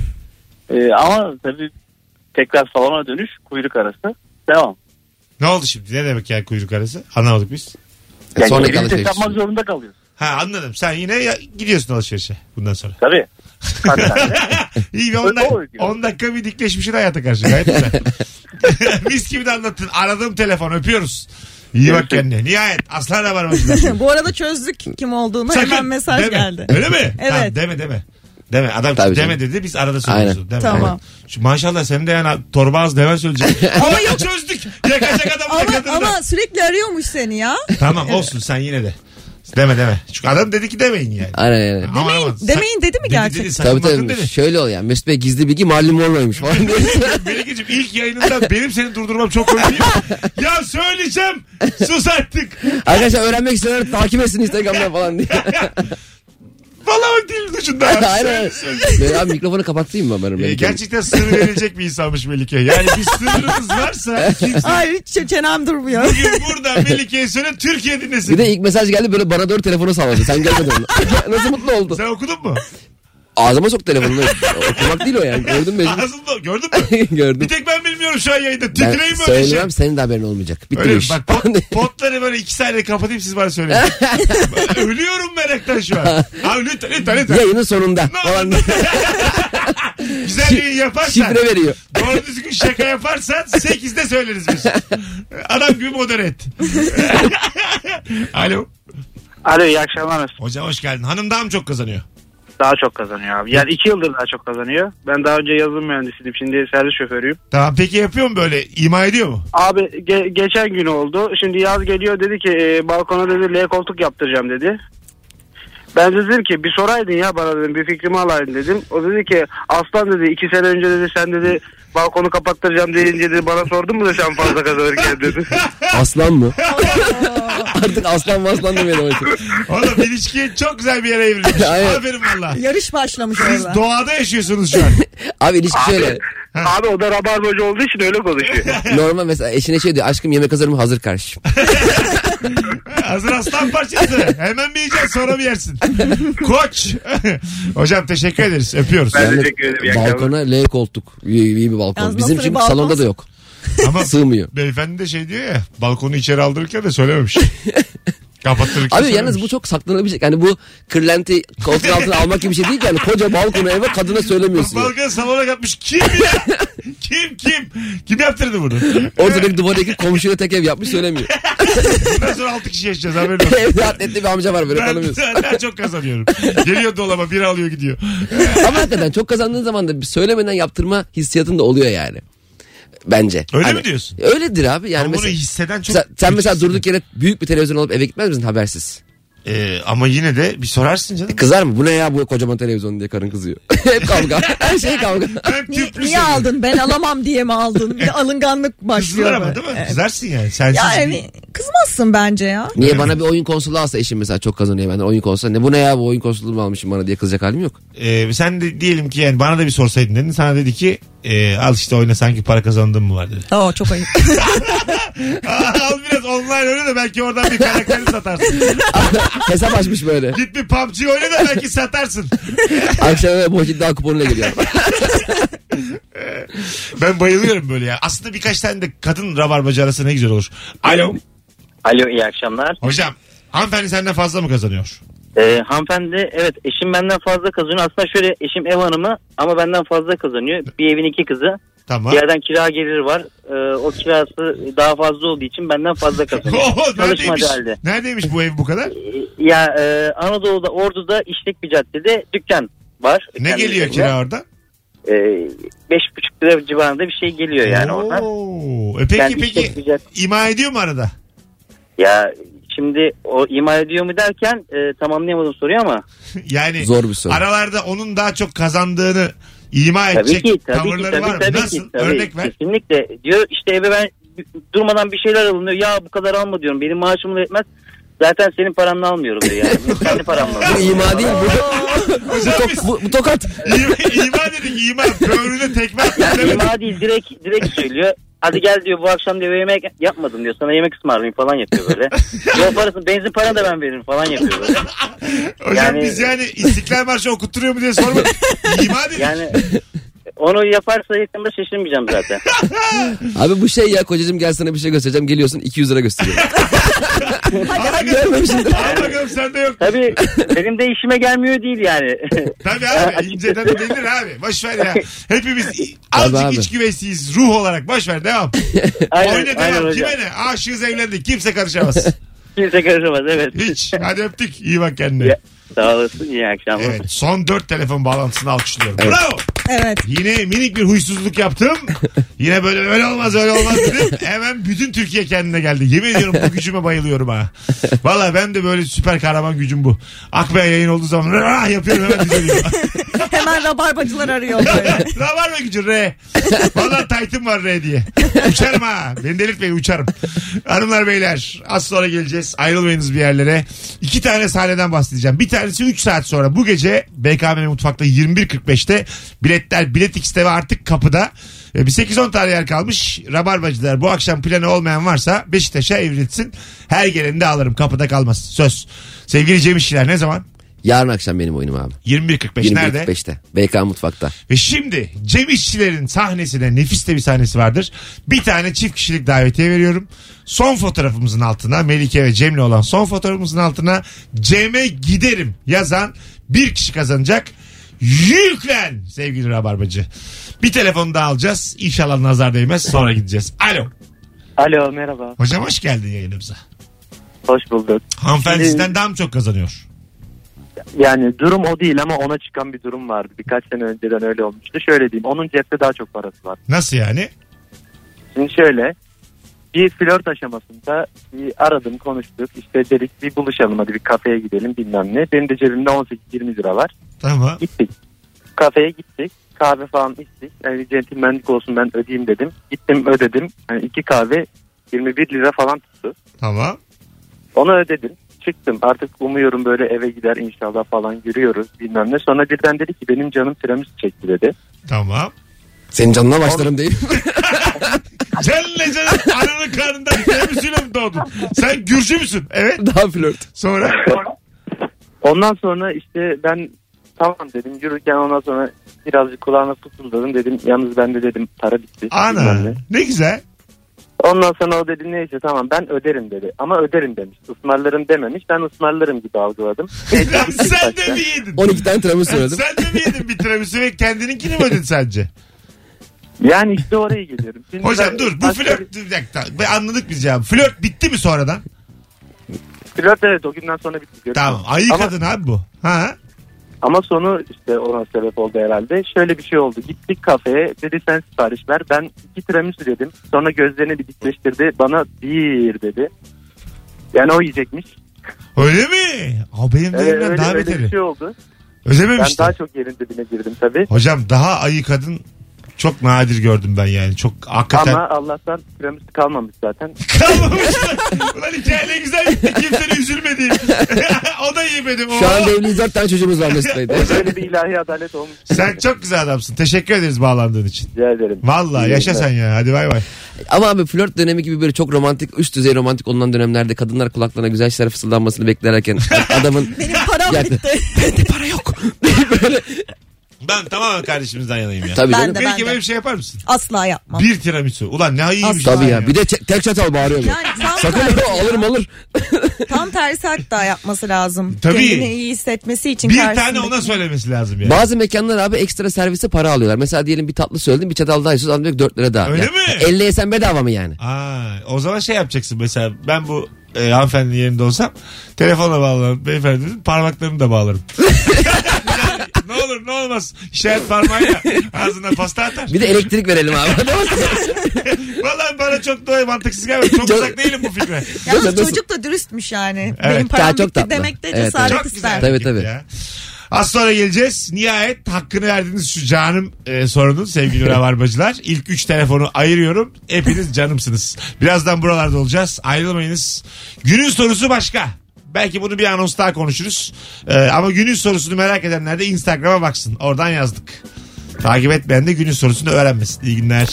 [SPEAKER 8] Ee, ama tabii tekrar salona dönüş kuyruk arası. Devam.
[SPEAKER 2] Ne oldu şimdi? Ne demek yani kuyruk arası? Anlamadık biz. E,
[SPEAKER 3] Yani
[SPEAKER 8] Yani
[SPEAKER 3] Sonraki
[SPEAKER 8] birinci yapmak
[SPEAKER 3] alışveriş.
[SPEAKER 8] zorunda kalıyorsun.
[SPEAKER 2] Ha anladım. Sen yine ya- gidiyorsun alışverişe bundan sonra.
[SPEAKER 8] Tabii. Kaç tane?
[SPEAKER 2] [LAUGHS] İyi bir 10
[SPEAKER 8] Öyle
[SPEAKER 2] dakika,
[SPEAKER 8] oluyor.
[SPEAKER 2] 10 dakika bir dikleşmişsin hayata karşı. Gayet güzel.
[SPEAKER 8] [LAUGHS]
[SPEAKER 2] Mis gibi de anlattın. Aradım telefon öpüyoruz. İyi bak kendine. Nihayet. Aslan
[SPEAKER 4] [LAUGHS]
[SPEAKER 2] da var
[SPEAKER 4] Bu arada çözdük kim olduğunu hemen mesaj
[SPEAKER 2] deme.
[SPEAKER 4] geldi. [LAUGHS]
[SPEAKER 2] Öyle mi?
[SPEAKER 4] Evet.
[SPEAKER 2] Tamam, deme deme. Deme adam
[SPEAKER 3] Tabii
[SPEAKER 2] deme
[SPEAKER 3] canım.
[SPEAKER 2] dedi biz arada söylüyoruz.
[SPEAKER 3] Aynen.
[SPEAKER 2] Deme.
[SPEAKER 4] Tamam.
[SPEAKER 2] Şu, maşallah senin de yani torba az
[SPEAKER 4] [LAUGHS]
[SPEAKER 2] demen söyleyecek. ama yok. Çözdük. Yakacak adamı
[SPEAKER 4] Ama,
[SPEAKER 2] yakadın da.
[SPEAKER 4] ama sürekli arıyormuş seni ya.
[SPEAKER 2] Tamam olsun sen yine de. Deme deme. Çünkü adam dedi ki demeyin yani.
[SPEAKER 3] Aynen aynen.
[SPEAKER 2] Ama
[SPEAKER 4] Demeyin-
[SPEAKER 2] aman, sak-
[SPEAKER 4] demeyin dedi mi gerçekten?
[SPEAKER 2] Dedi,
[SPEAKER 3] Tabii Şey
[SPEAKER 2] sakın bakın dedi.
[SPEAKER 3] tabii. Şöyle ol yani. Mesut Bey gizli bilgi Marilyn Monroe'ymuş falan
[SPEAKER 2] [LAUGHS]
[SPEAKER 3] diye.
[SPEAKER 2] Melike'cim ilk
[SPEAKER 4] [LAUGHS]
[SPEAKER 2] yayınında benim seni durdurmam çok komik değil mi? Ya söyleyeceğim. Sus artık.
[SPEAKER 3] Arkadaşlar öğrenmek isteyenler takip etsin Instagram'dan falan
[SPEAKER 2] [LAUGHS]
[SPEAKER 3] diye.
[SPEAKER 2] Valla bak dilimin
[SPEAKER 3] [LAUGHS]
[SPEAKER 2] ucunda.
[SPEAKER 3] Aynen. Ben abi mikrofonu kapattayım mı ben?
[SPEAKER 2] Ee,
[SPEAKER 3] Melike'nin?
[SPEAKER 2] gerçekten sır verilecek bir insanmış Melike. Yani bir
[SPEAKER 3] [LAUGHS]
[SPEAKER 2] sırrınız varsa kimse
[SPEAKER 4] Ay hiç çenem durmuyor.
[SPEAKER 2] bugün burada Melike'ye söyle Türkiye dinlesin.
[SPEAKER 3] Bir de ilk mesaj geldi böyle bana doğru telefonu salladı. Sen gelmedin. [LAUGHS] Nasıl mutlu oldu?
[SPEAKER 2] Sen okudun mu?
[SPEAKER 3] Ağzıma sok telefonunu. Okumak değil o yani. Gördün mü?
[SPEAKER 2] [LAUGHS] Ağzında gördün mü?
[SPEAKER 3] [LAUGHS] Gördüm.
[SPEAKER 2] Bir tek ben bilmiyorum şu an yayında.
[SPEAKER 3] Ben
[SPEAKER 2] Titreyim böyle şey.
[SPEAKER 3] söylemem senin de haberin olmayacak. Bitti
[SPEAKER 2] Öyle
[SPEAKER 3] bu
[SPEAKER 2] mi?
[SPEAKER 3] iş.
[SPEAKER 2] Bak
[SPEAKER 3] [LAUGHS]
[SPEAKER 2] pot- potları böyle iki saniye kapatayım siz bana söyleyin. Ben Ölüyorum meraktan
[SPEAKER 3] [LAUGHS]
[SPEAKER 2] şu an. Abi lütfen lütfen lütfen.
[SPEAKER 3] Yayının
[SPEAKER 2] [LAUGHS]
[SPEAKER 3] sonunda.
[SPEAKER 2] Ne
[SPEAKER 3] Falan.
[SPEAKER 2] oldu? Güzel bir yayın yaparsan.
[SPEAKER 3] Şifre veriyor.
[SPEAKER 2] Doğru düzgün şaka yaparsan 8'de söyleriz biz. Adam gibi moder et. [LAUGHS] Alo.
[SPEAKER 7] Alo iyi akşamlar Mesut.
[SPEAKER 2] Hocam hoş geldin. Hanım daha mı çok kazanıyor?
[SPEAKER 7] Daha çok kazanıyor abi. Yani iki yıldır daha çok kazanıyor. Ben daha önce yazılım mühendisiydim. Şimdi servis şoförüyüm.
[SPEAKER 2] Tamam peki yapıyor mu böyle? İma ediyor mu?
[SPEAKER 7] Abi ge- geçen gün oldu. Şimdi yaz geliyor dedi ki e, balkona dedi L koltuk yaptıracağım dedi. Ben de dedim ki bir soraydın ya bana dedim bir fikrimi alaydın dedim. O dedi ki aslan dedi iki sene önce dedi sen dedi balkonu kapattıracağım deyince dedi bana sordun mu da sen fazla kazanırken dedi.
[SPEAKER 3] Aslan
[SPEAKER 2] [LAUGHS]
[SPEAKER 3] mı? Artık aslan mı aslan demeyelim. artık.
[SPEAKER 2] Oğlum ilişki çok güzel bir yere evrilmiş.
[SPEAKER 3] Aynen.
[SPEAKER 2] Aferin valla.
[SPEAKER 4] [LAUGHS] Yarış başlamış
[SPEAKER 2] Siz
[SPEAKER 4] orada.
[SPEAKER 2] doğada yaşıyorsunuz şu an.
[SPEAKER 3] Abi ilişki şöyle.
[SPEAKER 7] abi o da rabarbacı olduğu için öyle konuşuyor.
[SPEAKER 3] Normal mesela eşine şey diyor. Aşkım yemek hazır mı? Hazır kardeşim.
[SPEAKER 2] Hazır aslan parçası. Hemen bir yiyeceksin sonra bir yersin. Koç. [LAUGHS] Hocam teşekkür ederiz. Öpüyoruz.
[SPEAKER 7] Ben teşekkür ederim, iyi akşamlar.
[SPEAKER 3] balkona L koltuk. İyi, iyi bir balkon.
[SPEAKER 4] Yalnız
[SPEAKER 3] Bizim
[SPEAKER 4] nasıl
[SPEAKER 3] çünkü
[SPEAKER 4] bir balkon?
[SPEAKER 3] salonda da yok.
[SPEAKER 2] Ama
[SPEAKER 3] [LAUGHS] Sığmıyor.
[SPEAKER 2] beyefendi de şey diyor ya. Balkonu içeri aldırırken de söylememiş. Kapattırırken
[SPEAKER 3] Abi
[SPEAKER 2] söylememiş.
[SPEAKER 3] yalnız bu çok saklanabilecek. Yani bu kırlenti koltuğun altına almak gibi bir şey değil ki. Yani koca balkonu eve kadına söylemiyorsun. yani.
[SPEAKER 2] Balkan salona yapmış. Kim ya?
[SPEAKER 3] [LAUGHS]
[SPEAKER 2] kim kim? Kim yaptırdı bunu?
[SPEAKER 3] Ortadaki duvardaki komşuya tek ev yapmış söylemiyor.
[SPEAKER 2] [LAUGHS] Bundan sonra 6 kişi yaşayacağız haberin olsun.
[SPEAKER 3] Evde atletli bir amca var böyle
[SPEAKER 2] Ben
[SPEAKER 3] tanımıyorsun.
[SPEAKER 2] daha [LAUGHS] çok kazanıyorum. Geliyor dolaba biri alıyor gidiyor.
[SPEAKER 3] Ama hakikaten çok kazandığın zaman da bir söylemeden yaptırma hissiyatın da oluyor yani. Bence.
[SPEAKER 2] Öyle
[SPEAKER 3] Hani-
[SPEAKER 2] mi diyorsun?
[SPEAKER 3] Öyledir abi. Yani
[SPEAKER 2] Ama bunu
[SPEAKER 3] mesela,
[SPEAKER 2] hisseden çok...
[SPEAKER 3] sen, sen mesela durduk yere büyük bir televizyon alıp eve gitmez misin habersiz? E,
[SPEAKER 2] Ee, ama yine de bir sorarsın canım.
[SPEAKER 3] Kızar mı? Bu ne ya bu kocaman televizyon diye karın kızıyor. Hep kavga. Her şey kavga.
[SPEAKER 2] Ben
[SPEAKER 4] Niye,
[SPEAKER 2] tüplü
[SPEAKER 4] niye
[SPEAKER 2] seviyorum.
[SPEAKER 4] aldın? Ben alamam diye mi aldın?
[SPEAKER 2] [LAUGHS]
[SPEAKER 4] Bir alınganlık başlıyor.
[SPEAKER 2] Kızılır ama
[SPEAKER 4] böyle.
[SPEAKER 2] değil mi?
[SPEAKER 4] Evet.
[SPEAKER 2] Kızarsın yani. [LAUGHS] Sensiz
[SPEAKER 4] Ya hani-
[SPEAKER 2] bir-
[SPEAKER 4] yani kızmazsın bence ya.
[SPEAKER 3] Niye bana bir oyun konsolu alsa eşim mesela çok kazanıyor benden oyun konsolu. Ne bu ne ya bu oyun konsolu mu almışım bana diye kızacak halim yok.
[SPEAKER 2] [LAUGHS] Ee, sen de diyelim ki yani bana da bir sorsaydın dedin. Sana dedi ki e, al işte oyna sanki para kazandın mı var
[SPEAKER 3] [LAUGHS]
[SPEAKER 2] dedi.
[SPEAKER 4] Oo çok
[SPEAKER 2] [LAUGHS]
[SPEAKER 4] ayıp.
[SPEAKER 2] al biraz online oyna da belki oradan bir karakteri satarsın.
[SPEAKER 3] [LAUGHS] Hesap açmış böyle.
[SPEAKER 2] Git bir PUBG oyna da
[SPEAKER 3] [LAUGHS]
[SPEAKER 2] belki satarsın.
[SPEAKER 3] Akşam eve boş iddia kuponuyla
[SPEAKER 2] [LAUGHS]
[SPEAKER 3] geliyor.
[SPEAKER 2] Ben bayılıyorum böyle ya. Aslında birkaç tane de kadın rabarbacı arası ne güzel olur. Alo.
[SPEAKER 9] Alo iyi akşamlar.
[SPEAKER 2] Hocam hanımefendi senden fazla mı kazanıyor?
[SPEAKER 9] Ee, hanımefendi evet eşim benden fazla kazanıyor. Aslında şöyle eşim ev hanımı ama benden fazla kazanıyor. Bir evin iki kızı.
[SPEAKER 2] Tamam.
[SPEAKER 9] Bir yerden kira geliri var. Ee, o kirası daha fazla olduğu için benden
[SPEAKER 2] [LAUGHS]
[SPEAKER 9] fazla kazanıyor.
[SPEAKER 2] Oo, neredeymiş,
[SPEAKER 9] Çalışmadığı halde.
[SPEAKER 2] neredeymiş bu ev bu kadar?
[SPEAKER 9] Ya e, Anadolu'da Ordu'da işlek bir caddede dükkan var.
[SPEAKER 2] Ne
[SPEAKER 9] Kendi
[SPEAKER 2] geliyor
[SPEAKER 9] üzerinde.
[SPEAKER 2] kira orada?
[SPEAKER 9] Ee, Beş buçuk lira civarında bir şey geliyor yani oradan.
[SPEAKER 2] Oo. E peki
[SPEAKER 9] Yani
[SPEAKER 2] peki
[SPEAKER 9] işlek bir cadde-
[SPEAKER 2] ima ediyor mu arada? [LAUGHS]
[SPEAKER 9] Ya şimdi o ima ediyor mu derken e, tamamlayamadım soruyu ama
[SPEAKER 2] Yani
[SPEAKER 3] Zor bir soru.
[SPEAKER 2] aralarda onun daha çok kazandığını ima
[SPEAKER 9] Tabii
[SPEAKER 2] edecek
[SPEAKER 9] ki, tabii ki,
[SPEAKER 2] tavırları var
[SPEAKER 9] tabii,
[SPEAKER 2] mı?
[SPEAKER 9] tabii
[SPEAKER 2] Nasıl?
[SPEAKER 9] ki. Tabii,
[SPEAKER 2] Örnek ver.
[SPEAKER 9] Kesinlikle. Diyor işte eve ben durmadan bir şeyler alınıyor. Ya bu kadar alma diyorum. Benim maaşımla yetmez. Zaten senin paranla almıyorum diyor yani. Bunu kendi paramla
[SPEAKER 3] Bu
[SPEAKER 9] alıyorum.
[SPEAKER 3] ima değil [LAUGHS] bu, bu,
[SPEAKER 2] Hocam biz
[SPEAKER 3] tok- bu, bu tokat.
[SPEAKER 2] ima, ima dedik ima. Böğrüne tekme attık. değil mi?
[SPEAKER 9] İma değil direkt direkt söylüyor. Hadi gel diyor bu akşam diyor yemek yapmadım diyor. Sana yemek ısmarlayayım falan
[SPEAKER 2] [LAUGHS]
[SPEAKER 9] yapıyor böyle. Yol parasını benzin paranı da ben veririm falan yapıyor böyle.
[SPEAKER 2] Hocam
[SPEAKER 9] Yani-
[SPEAKER 2] biz yani İstiklal Marşı okutturuyor mu diye
[SPEAKER 9] [LAUGHS]
[SPEAKER 2] sormadık. İma dedik.
[SPEAKER 9] Yani onu yaparsa yakında şaşırmayacağım
[SPEAKER 2] [LAUGHS]
[SPEAKER 9] zaten.
[SPEAKER 3] Abi bu şey ya kocacığım gel sana bir şey göstereceğim. Geliyorsun 200 lira gösteriyor. Görmemişim.
[SPEAKER 2] Al bakalım sende yok.
[SPEAKER 9] Tabii benim de işime gelmiyor değil yani.
[SPEAKER 2] Tabii
[SPEAKER 9] [LAUGHS]
[SPEAKER 2] abi inceden bilinir abi. Boş ver ya. Hepimiz i-
[SPEAKER 3] Tabii
[SPEAKER 2] azıcık
[SPEAKER 3] abi.
[SPEAKER 2] iç güveysiyiz ruh olarak. Boş ver devam.
[SPEAKER 9] aynen,
[SPEAKER 2] Oyna
[SPEAKER 9] aynen
[SPEAKER 2] devam.
[SPEAKER 9] hocam.
[SPEAKER 2] Kime ne? Aşığız evlendik. Kimse karışamaz.
[SPEAKER 9] [LAUGHS] Kimse karışamaz evet.
[SPEAKER 2] Hiç. Hadi öptük. İyi bak kendine.
[SPEAKER 9] Ya, Sağ olasın iyi akşamlar.
[SPEAKER 2] Evet, son dört telefon bağlantısını alkışlıyorum. Bravo.
[SPEAKER 4] Evet.
[SPEAKER 2] Yine minik bir huysuzluk yaptım. Yine böyle öyle olmaz öyle olmaz dedim. Hemen bütün Türkiye kendine geldi. Yemin ediyorum bu gücüme bayılıyorum ha. Valla ben de böyle süper kahraman gücüm bu. Akbey yayın olduğu zaman [LAUGHS] "Rah!" yapıyorum hemen düzeliyor.
[SPEAKER 4] [LAUGHS] Hemen
[SPEAKER 2] [LAUGHS]
[SPEAKER 4] rabarbacılar arıyor. böyle.
[SPEAKER 2] Ra var mı gücün re? Valla taytım var re diye. Uçarım ha. Beni delirtmeyin uçarım. Hanımlar beyler az sonra geleceğiz. Ayrılmayınız bir yerlere. İki tane sahneden bahsedeceğim. Bir tanesi 3 saat sonra bu gece BKM Mutfak'ta 21.45'te biletler Bilet X'te ve artık kapıda. E, Bir 8-10 tane yer kalmış. Rabarbacılar bu akşam planı olmayan varsa Beşiktaş'a evrilsin. Her gelende alırım. Kapıda kalmaz. Söz. Sevgili Cem İşçiler ne zaman?
[SPEAKER 3] Yarın akşam benim oyunum abi.
[SPEAKER 2] 21.45 nerede?
[SPEAKER 3] 21.45'te. BK Mutfak'ta.
[SPEAKER 2] Ve şimdi Cem İşçilerin sahnesine nefis de bir sahnesi vardır. Bir tane çift kişilik davetiye veriyorum. Son fotoğrafımızın altına Melike ve Cem'le olan son fotoğrafımızın altına Cem'e giderim yazan bir kişi kazanacak. Yüklen sevgili Rabarbacı. Bir telefon daha alacağız. İnşallah nazar değmez sonra gideceğiz. Alo.
[SPEAKER 8] Alo merhaba.
[SPEAKER 2] Hocam hoş geldin yayınımıza.
[SPEAKER 8] Hoş bulduk.
[SPEAKER 2] Hanımefendi
[SPEAKER 8] Şimdi-
[SPEAKER 2] sizden daha mı çok kazanıyor?
[SPEAKER 8] Yani durum o değil ama ona çıkan bir durum vardı. Birkaç sene önceden öyle olmuştu. Şöyle diyeyim onun cepte daha çok parası var.
[SPEAKER 2] Nasıl yani?
[SPEAKER 8] Şimdi şöyle bir flört aşamasında bir aradım konuştuk. İşte dedik bir buluşalım hadi bir kafeye gidelim bilmem ne. Benim de cebimde 18-20 lira var.
[SPEAKER 2] Tamam.
[SPEAKER 8] Gittik. Kafeye gittik. Kahve falan içtik. Yani centilmenlik olsun ben ödeyeyim dedim. Gittim ödedim. Yani iki kahve 21 lira falan tuttu.
[SPEAKER 2] Tamam.
[SPEAKER 8] Onu ödedim. Çıktım. Artık umuyorum böyle eve gider inşallah falan yürüyoruz bilmem ne. Sonra birden dedi ki benim canım piramit çekti dedi.
[SPEAKER 2] Tamam.
[SPEAKER 3] Senin canına başlarım değil.
[SPEAKER 2] Canlı
[SPEAKER 8] [LAUGHS]
[SPEAKER 2] canlı ananın karnından temizliyle mi doğdun? Sen Gürcü müsün? Evet.
[SPEAKER 3] Daha flört.
[SPEAKER 2] Sonra
[SPEAKER 8] [LAUGHS] Ondan sonra işte ben tamam dedim yürürken ondan sonra birazcık kulağına fısıldadım dedim. Yalnız bende dedim para bitti. bilmem
[SPEAKER 2] ana
[SPEAKER 8] ne.
[SPEAKER 2] ne güzel.
[SPEAKER 8] Ondan sonra o dedi neyse tamam ben öderim dedi. Ama öderim demiş. Ismarlarım dememiş. Ben ısmarlarım
[SPEAKER 2] [LAUGHS]
[SPEAKER 8] gibi algıladım. Neyse,
[SPEAKER 2] Lan
[SPEAKER 8] gittik
[SPEAKER 2] sen de
[SPEAKER 8] başka.
[SPEAKER 2] mi yedin?
[SPEAKER 3] 12 tane tremi söyledim.
[SPEAKER 2] Sen de mi yedin bir tiramisu ve kendininkini mi ödedin sadece?
[SPEAKER 8] Yani işte oraya geliyorum. Şimdi
[SPEAKER 2] Hocam
[SPEAKER 8] ben-
[SPEAKER 2] dur bu
[SPEAKER 8] başka bir-
[SPEAKER 2] flört bir dakika be- anladık biz ya. Flört bitti mi sonradan?
[SPEAKER 8] Flört evet o günden sonra bitti. Görüşürüz.
[SPEAKER 2] Tamam ayı
[SPEAKER 8] Ama-
[SPEAKER 2] kadın abi bu. Ha?
[SPEAKER 8] Ama sonu işte ona sebep oldu herhalde. Şöyle bir şey oldu. Gittik kafeye. Dedi sen sipariş ver. Ben iki tiramisu dedim. Sonra gözlerini bir dikleştirdi. Bana bir dedi. Yani o yiyecekmiş.
[SPEAKER 2] Öyle mi? Aa, benim
[SPEAKER 8] Ee,
[SPEAKER 2] yerimden
[SPEAKER 8] öyle,
[SPEAKER 2] daha
[SPEAKER 8] öyle
[SPEAKER 2] beteri.
[SPEAKER 8] bir şey oldu. Ben
[SPEAKER 2] Özememiştim.
[SPEAKER 8] daha çok yerin dibine girdim tabii.
[SPEAKER 2] Hocam daha ayı kadın çok nadir gördüm ben yani. Çok hakikaten.
[SPEAKER 8] Ama Allah'tan tiramisu kalmamış zaten.
[SPEAKER 2] Kalmamışlar. Ulan hikaye ne güzel gitti. Kimsenin üzülmedi. [LAUGHS] o da yemedim.
[SPEAKER 3] Şu
[SPEAKER 2] Oo.
[SPEAKER 3] anda evliyiz 4 tane çocuğumuz var Mesut Bey'de.
[SPEAKER 8] Böyle bir ilahi adalet olmuş.
[SPEAKER 2] Sen çok güzel adamsın. Teşekkür ederiz bağlandığın için.
[SPEAKER 8] Rica ederim.
[SPEAKER 2] Valla
[SPEAKER 8] İyi
[SPEAKER 2] yaşa
[SPEAKER 8] günler.
[SPEAKER 2] sen ya. Hadi bay bay.
[SPEAKER 3] Ama abi flört dönemi gibi böyle çok romantik, üst düzey romantik olunan dönemlerde kadınlar kulaklarına güzel şeyler fısıldanmasını
[SPEAKER 2] [LAUGHS]
[SPEAKER 3] beklerken adamın...
[SPEAKER 4] Benim param
[SPEAKER 3] Geldi.
[SPEAKER 4] bitti.
[SPEAKER 3] para yok. [LAUGHS] böyle...
[SPEAKER 2] Ben tamamen kardeşimizden yanayım
[SPEAKER 3] [LAUGHS]
[SPEAKER 2] ya.
[SPEAKER 3] Tabii
[SPEAKER 4] Ben
[SPEAKER 3] canım.
[SPEAKER 4] de.
[SPEAKER 2] Belki böyle bir şey yapar mısın?
[SPEAKER 4] Asla yapmam.
[SPEAKER 2] Bir tiramisu. Ulan ne ayıymış.
[SPEAKER 4] Asla.
[SPEAKER 3] Tabii ya. Bir de çe- tek çatal bağırıyor. bu.
[SPEAKER 4] Yani tam
[SPEAKER 3] Sakın [LAUGHS]
[SPEAKER 4] tersi ya. [LAUGHS]
[SPEAKER 3] alırım alır.
[SPEAKER 4] Tam tersi hatta yapması lazım.
[SPEAKER 2] Tabii.
[SPEAKER 4] Kendini iyi hissetmesi için.
[SPEAKER 2] Bir
[SPEAKER 4] karşısındaki-
[SPEAKER 2] tane ona söylemesi lazım yani.
[SPEAKER 3] Bazı mekanlar abi ekstra servise para alıyorlar. Mesela diyelim bir tatlı söyledin bir çatal daha istiyorsun. Adam diyor 4 lira daha.
[SPEAKER 2] Öyle
[SPEAKER 3] Ya,
[SPEAKER 2] mi?
[SPEAKER 3] 50 yesen bedava mı yani?
[SPEAKER 2] Aa, o zaman şey yapacaksın mesela ben bu e, hanımefendinin yerinde olsam telefonla bağlarım beyefendinin parmaklarını da
[SPEAKER 3] [LAUGHS]
[SPEAKER 2] bağlarım. Yani ne olur ne olmaz işaret parmağıyla ağzına pasta atar.
[SPEAKER 3] Bir de elektrik verelim abi.
[SPEAKER 2] [LAUGHS] Vallahi bana çok da mantıksız gelmedi. Çok
[SPEAKER 3] Çok-
[SPEAKER 2] uzak değilim bu fikre.
[SPEAKER 4] Yalnız
[SPEAKER 3] Nasıl-
[SPEAKER 4] çocuk da dürüstmüş yani.
[SPEAKER 2] Evet.
[SPEAKER 4] Benim param
[SPEAKER 3] Ya çok
[SPEAKER 4] bitti
[SPEAKER 3] tatlı.
[SPEAKER 4] demek de
[SPEAKER 3] Evet,
[SPEAKER 4] cesaret
[SPEAKER 2] Çok
[SPEAKER 4] ister.
[SPEAKER 2] güzel.
[SPEAKER 3] Tabii,
[SPEAKER 2] fikir
[SPEAKER 3] tabii.
[SPEAKER 2] ya. Az sonra geleceğiz. Nihayet hakkını verdiğiniz şu canım e,
[SPEAKER 3] [LAUGHS]
[SPEAKER 2] sorunun sevgili Rabarbacılar. İlk 3 telefonu ayırıyorum. Hepiniz canımsınız. Birazdan buralarda olacağız. Ayrılmayınız. Günün sorusu başka. Belki bunu bir anons daha konuşuruz. E, ama günün sorusunu merak edenler de Instagram'a baksın. Oradan yazdık. Takip etmeyen de günün sorusunu öğrenmesin. İyi günler.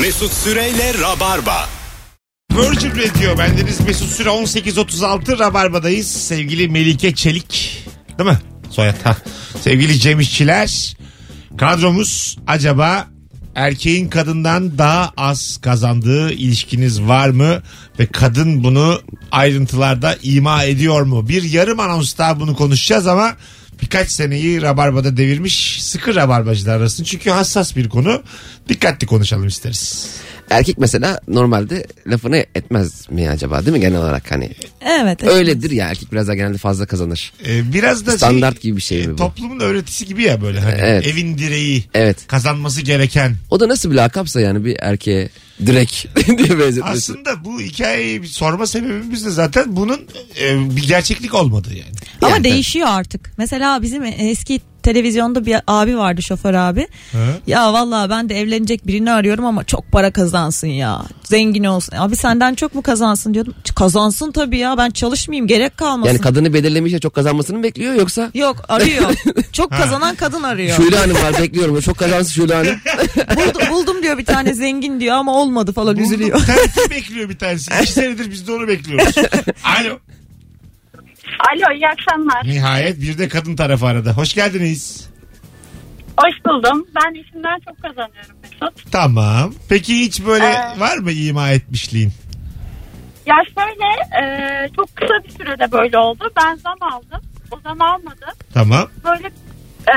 [SPEAKER 1] Mesut Süreyle Rabarba.
[SPEAKER 3] [LAUGHS]
[SPEAKER 2] Virgin Radio. Bendeniz Mesut Süre 18.36 Rabarba'dayız. Sevgili Melike Çelik. Değil mi? Soyad. Ha. Sevgili Cem İşçiler. Kadromuz acaba erkeğin kadından daha az kazandığı ilişkiniz var mı? Ve kadın bunu ayrıntılarda ima ediyor mu? Bir yarım anons daha bunu konuşacağız ama birkaç seneyi Rabarba'da devirmiş sıkı Rabarbacılar arasında. Çünkü hassas bir konu. Dikkatli konuşalım isteriz.
[SPEAKER 3] Erkek mesela normalde lafını etmez mi acaba değil mi genel olarak hani?
[SPEAKER 4] Evet. evet.
[SPEAKER 3] Öyledir ya erkek biraz daha genelde fazla kazanır.
[SPEAKER 2] Ee, biraz da şey-
[SPEAKER 3] Standart gibi bir şey mi bu?
[SPEAKER 2] Toplumun öğretisi gibi ya böyle hani
[SPEAKER 3] Evet.
[SPEAKER 2] evin direği
[SPEAKER 3] Evet.
[SPEAKER 2] kazanması gereken.
[SPEAKER 3] O da nasıl bir lakapsa yani bir erkeğe direkt [LAUGHS] diye benzetmesi.
[SPEAKER 2] Aslında bu hikayeyi bir sorma sebebimiz de zaten bunun e, bir gerçeklik olmadığı yani.
[SPEAKER 4] Ama
[SPEAKER 3] Yani.
[SPEAKER 4] değişiyor artık. Mesela bizim eski televizyonda bir abi vardı şoför abi.
[SPEAKER 2] Hı?
[SPEAKER 4] Ya vallahi ben de evlenecek birini arıyorum ama çok para kazansın ya. Zengin olsun. Abi senden çok mu kazansın diyordum. Kazansın tabii ya ben çalışmayayım gerek kalmasın.
[SPEAKER 3] Yani kadını belirlemişse çok kazanmasını mı bekliyor yoksa?
[SPEAKER 4] Yok
[SPEAKER 2] [LAUGHS]
[SPEAKER 4] arıyor. çok kazanan kadın arıyor.
[SPEAKER 3] Şule Hanım var bekliyorum. Çok kazansın Şule
[SPEAKER 2] [LAUGHS]
[SPEAKER 3] Hanım.
[SPEAKER 4] [LAUGHS] Buldu- buldum diyor bir tane zengin diyor ama olmadı falan üzülüyor.
[SPEAKER 2] Bulduk. Terfi bekliyor bir tanesi. İki senedir biz de onu bekliyoruz. Alo.
[SPEAKER 5] Alo iyi akşamlar.
[SPEAKER 2] Nihayet bir de kadın tarafı arada. Hoş geldiniz.
[SPEAKER 5] Hoş buldum. Ben işimden çok kazanıyorum Mesut.
[SPEAKER 2] Tamam. Peki hiç böyle
[SPEAKER 5] Ee.
[SPEAKER 2] var mı ima etmişliğin?
[SPEAKER 5] Ya şöyle e, çok kısa bir sürede böyle oldu. Ben zam aldım. O zam almadı. [LAUGHS]
[SPEAKER 2] Tamam.
[SPEAKER 5] Böyle e,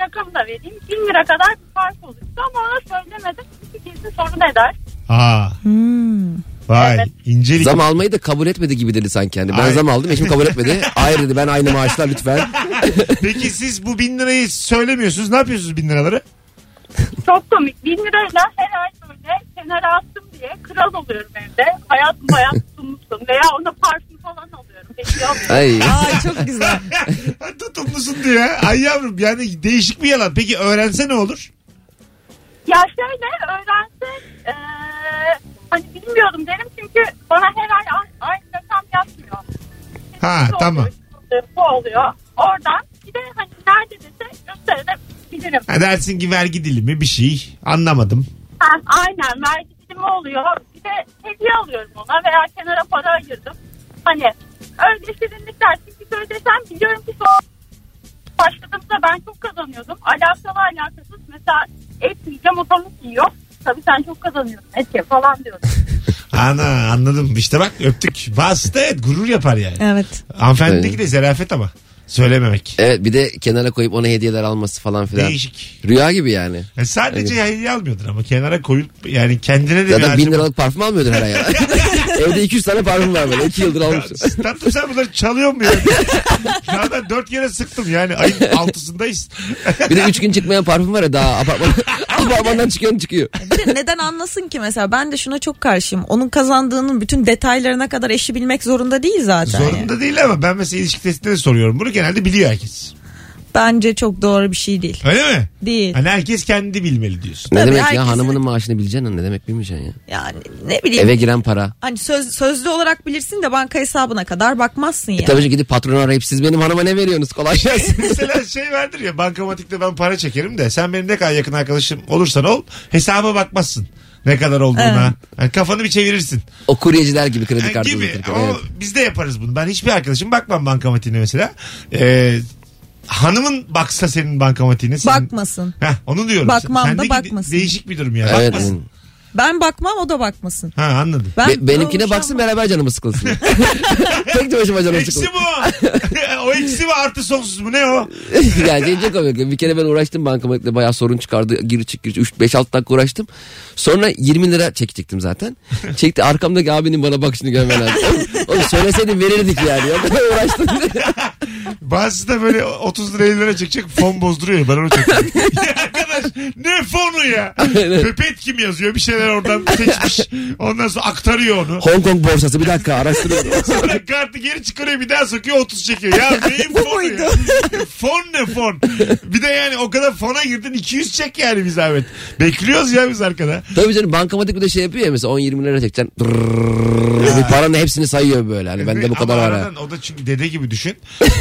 [SPEAKER 5] rakamı da vereyim. 1000 lira kadar bir fark oluştu ama ona söylemedim. Çünkü kesin sorun eder.
[SPEAKER 2] Aa.
[SPEAKER 4] Hmm.
[SPEAKER 2] Vay.
[SPEAKER 5] Evet.
[SPEAKER 2] İncelik.
[SPEAKER 3] Zam almayı da kabul etmedi gibi dedi sanki. Yani ben
[SPEAKER 2] Ay.
[SPEAKER 3] zam aldım eşim kabul
[SPEAKER 2] [LAUGHS]
[SPEAKER 3] etmedi. Hayır dedi ben aynı maaşla lütfen.
[SPEAKER 2] Peki siz bu bin lirayı söylemiyorsunuz. Ne yapıyorsunuz bin liraları?
[SPEAKER 5] Çok komik. 1000 lirayla her ay böyle kenara attım diye kral oluyorum evde.
[SPEAKER 2] [LAUGHS]
[SPEAKER 5] Hayatım hayat tutumlusun veya ona parfüm falan alıyorum. Hediye alıyorum.
[SPEAKER 3] Ay.
[SPEAKER 4] Ay çok güzel.
[SPEAKER 2] Tutumlusun diyor. Ay yavrum yani değişik bir yalan. Peki öğrense ne olur?
[SPEAKER 5] [LAUGHS] Ya şöyle öğrense eee, hani bilmiyorum derim çünkü bana her ay a- aynı rakam yapmıyor.
[SPEAKER 2] Ha
[SPEAKER 5] Bu
[SPEAKER 2] tamam.
[SPEAKER 5] oluyor, şu oluyor, Bu oluyor. Oradan bir de hani nerede dese gösterene bilirim.
[SPEAKER 2] Ha, dersin ki vergi dilimi bir şey. Anlamadım.
[SPEAKER 5] Ha, aynen vergi dilimi oluyor. Bir de hediye alıyorum ona veya kenara para ayırdım. Hani öyle şirinlikler çünkü söylesem biliyorum ki son başladığımda ben çok kazanıyordum. Alakalı alakasız mesela et yiyeceğim o tavuk yiyor. Tabii sen çok kazanıyorsun et ye falan diyorum.
[SPEAKER 2] Ana anladım. İşte bak öptük. Vasıta et gurur yapar yani.
[SPEAKER 4] Evet.
[SPEAKER 2] Hanımefendideki de zarafet ama. Söylememek.
[SPEAKER 3] Evet bir de kenara koyup ona hediyeler alması falan filan.
[SPEAKER 2] Değişik.
[SPEAKER 3] Rüya gibi yani.
[SPEAKER 2] E, sadece hediye almıyordun ama kenara koyup yani kendine de
[SPEAKER 3] Zaten
[SPEAKER 2] bir
[SPEAKER 3] bin liralık parfüm almıyordun her ay.
[SPEAKER 2] [LAUGHS]
[SPEAKER 3] Evde 200 tane parfüm var böyle. 2 yıldır almışsın.
[SPEAKER 2] Tatlım sen bunları çalıyor mu ya? Şu anda [LAUGHS] dört kere sıktım yani ayın altısındayız.
[SPEAKER 3] [LAUGHS] Bir de 3 gün çıkmayan parfüm var ya daha apartman,
[SPEAKER 2] [LAUGHS]
[SPEAKER 3] apartmandan çıkan çıkıyor.
[SPEAKER 4] Bir de neden anlasın ki mesela ben de şuna çok karşıyım. Onun kazandığının bütün detaylarına kadar eşi bilmek zorunda değil zaten. yani.
[SPEAKER 2] Zorunda değil ama ben mesela ilişki testinde de soruyorum. Bunu genelde biliyor herkes.
[SPEAKER 4] Bence çok doğru bir şey değil.
[SPEAKER 2] Öyle mi?
[SPEAKER 4] Değil.
[SPEAKER 2] Hani herkes kendi bilmeli diyorsun.
[SPEAKER 3] Ne
[SPEAKER 4] Tabii
[SPEAKER 3] demek ya
[SPEAKER 4] herkesin-
[SPEAKER 3] hanımının maaşını bileceksin ne demek bilmeyeceksin ya.
[SPEAKER 4] Yani ne bileyim.
[SPEAKER 3] Eve giren para.
[SPEAKER 4] Hani söz, sözlü olarak bilirsin de banka hesabına kadar bakmazsın yani.
[SPEAKER 3] E tabii ki gidip patronu arayıp siz benim hanıma ne veriyorsunuz kolay gelsin.
[SPEAKER 2] [LAUGHS] Mesela şey vardır ya bankamatikte ben para çekerim de sen benim ne kadar yakın arkadaşım olursan ol hesaba bakmazsın. Ne kadar olduğuna. Yani kafanı bir çevirirsin.
[SPEAKER 3] o kuryeciler gibi kredi
[SPEAKER 2] Yani
[SPEAKER 3] kartı
[SPEAKER 2] gibi.
[SPEAKER 3] uzatırken,
[SPEAKER 2] Ama
[SPEAKER 3] evet.
[SPEAKER 2] biz de yaparız bunu. Ben hiçbir arkadaşım bakmam bankamatiğine mesela. Ee, hanımın baksa senin bankamatiğine. Senin...
[SPEAKER 4] Bakmasın.
[SPEAKER 2] Heh, onu diyorum.
[SPEAKER 4] Bakmam da
[SPEAKER 2] de-
[SPEAKER 4] bakmasın.
[SPEAKER 2] Değişik bir durum yani.
[SPEAKER 3] Evet.
[SPEAKER 2] Bakmasın.
[SPEAKER 4] Ben bakmam o da bakmasın.
[SPEAKER 2] Ha anladım.
[SPEAKER 4] Ben
[SPEAKER 3] Be- benimkine
[SPEAKER 4] Doğru,
[SPEAKER 3] baksın
[SPEAKER 4] şu an-
[SPEAKER 3] beraber canımı
[SPEAKER 2] [LAUGHS]
[SPEAKER 3] sıkılsın. Tek de başıma canım
[SPEAKER 2] Eksi
[SPEAKER 3] sıkılsın.
[SPEAKER 2] bu. [LAUGHS] o eksi mi artı sonsuz mu ne o?
[SPEAKER 3] yani cence komik. Bir kere ben uğraştım bankamatikle bayağı sorun çıkardı. Gir çık gir 3 5 6 dakika uğraştım. Sonra 20 lira çekecektim zaten. Çekti arkamdaki abinin bana bakışını görmen lazım. Oğlum, oğlum söyleseydin verirdik yani. Ya, uğraştım.
[SPEAKER 2] [LAUGHS] Bazısı da böyle 30 lira 50 lira çekecek fon bozduruyor. ya, Ben onu
[SPEAKER 1] [LAUGHS]
[SPEAKER 2] çok Ya Arkadaş ne fonu ya? Pepet kim yazıyor? Bir şeyler oradan seçmiş. Ondan sonra aktarıyor onu.
[SPEAKER 3] Hong Kong borsası bir dakika araştırıyorum.
[SPEAKER 2] [LAUGHS] Sonra kartı geri çıkarıyor bir daha sokuyor 30 çekiyor. Ya neyin fonu ya? fon ne fon? Bir de yani o kadar fona girdin 200 çek yani biz Ahmet. Bekliyoruz ya biz arkada.
[SPEAKER 3] Tabii canım bankamatik bir de şey yapıyor ya mesela 10-20 lira çekeceksin. Drrrr, bir paranın hepsini sayıyor böyle. Hani bende bu
[SPEAKER 2] Ama
[SPEAKER 3] kadar var. ha.
[SPEAKER 2] aradan, O da çünkü dede gibi düşün.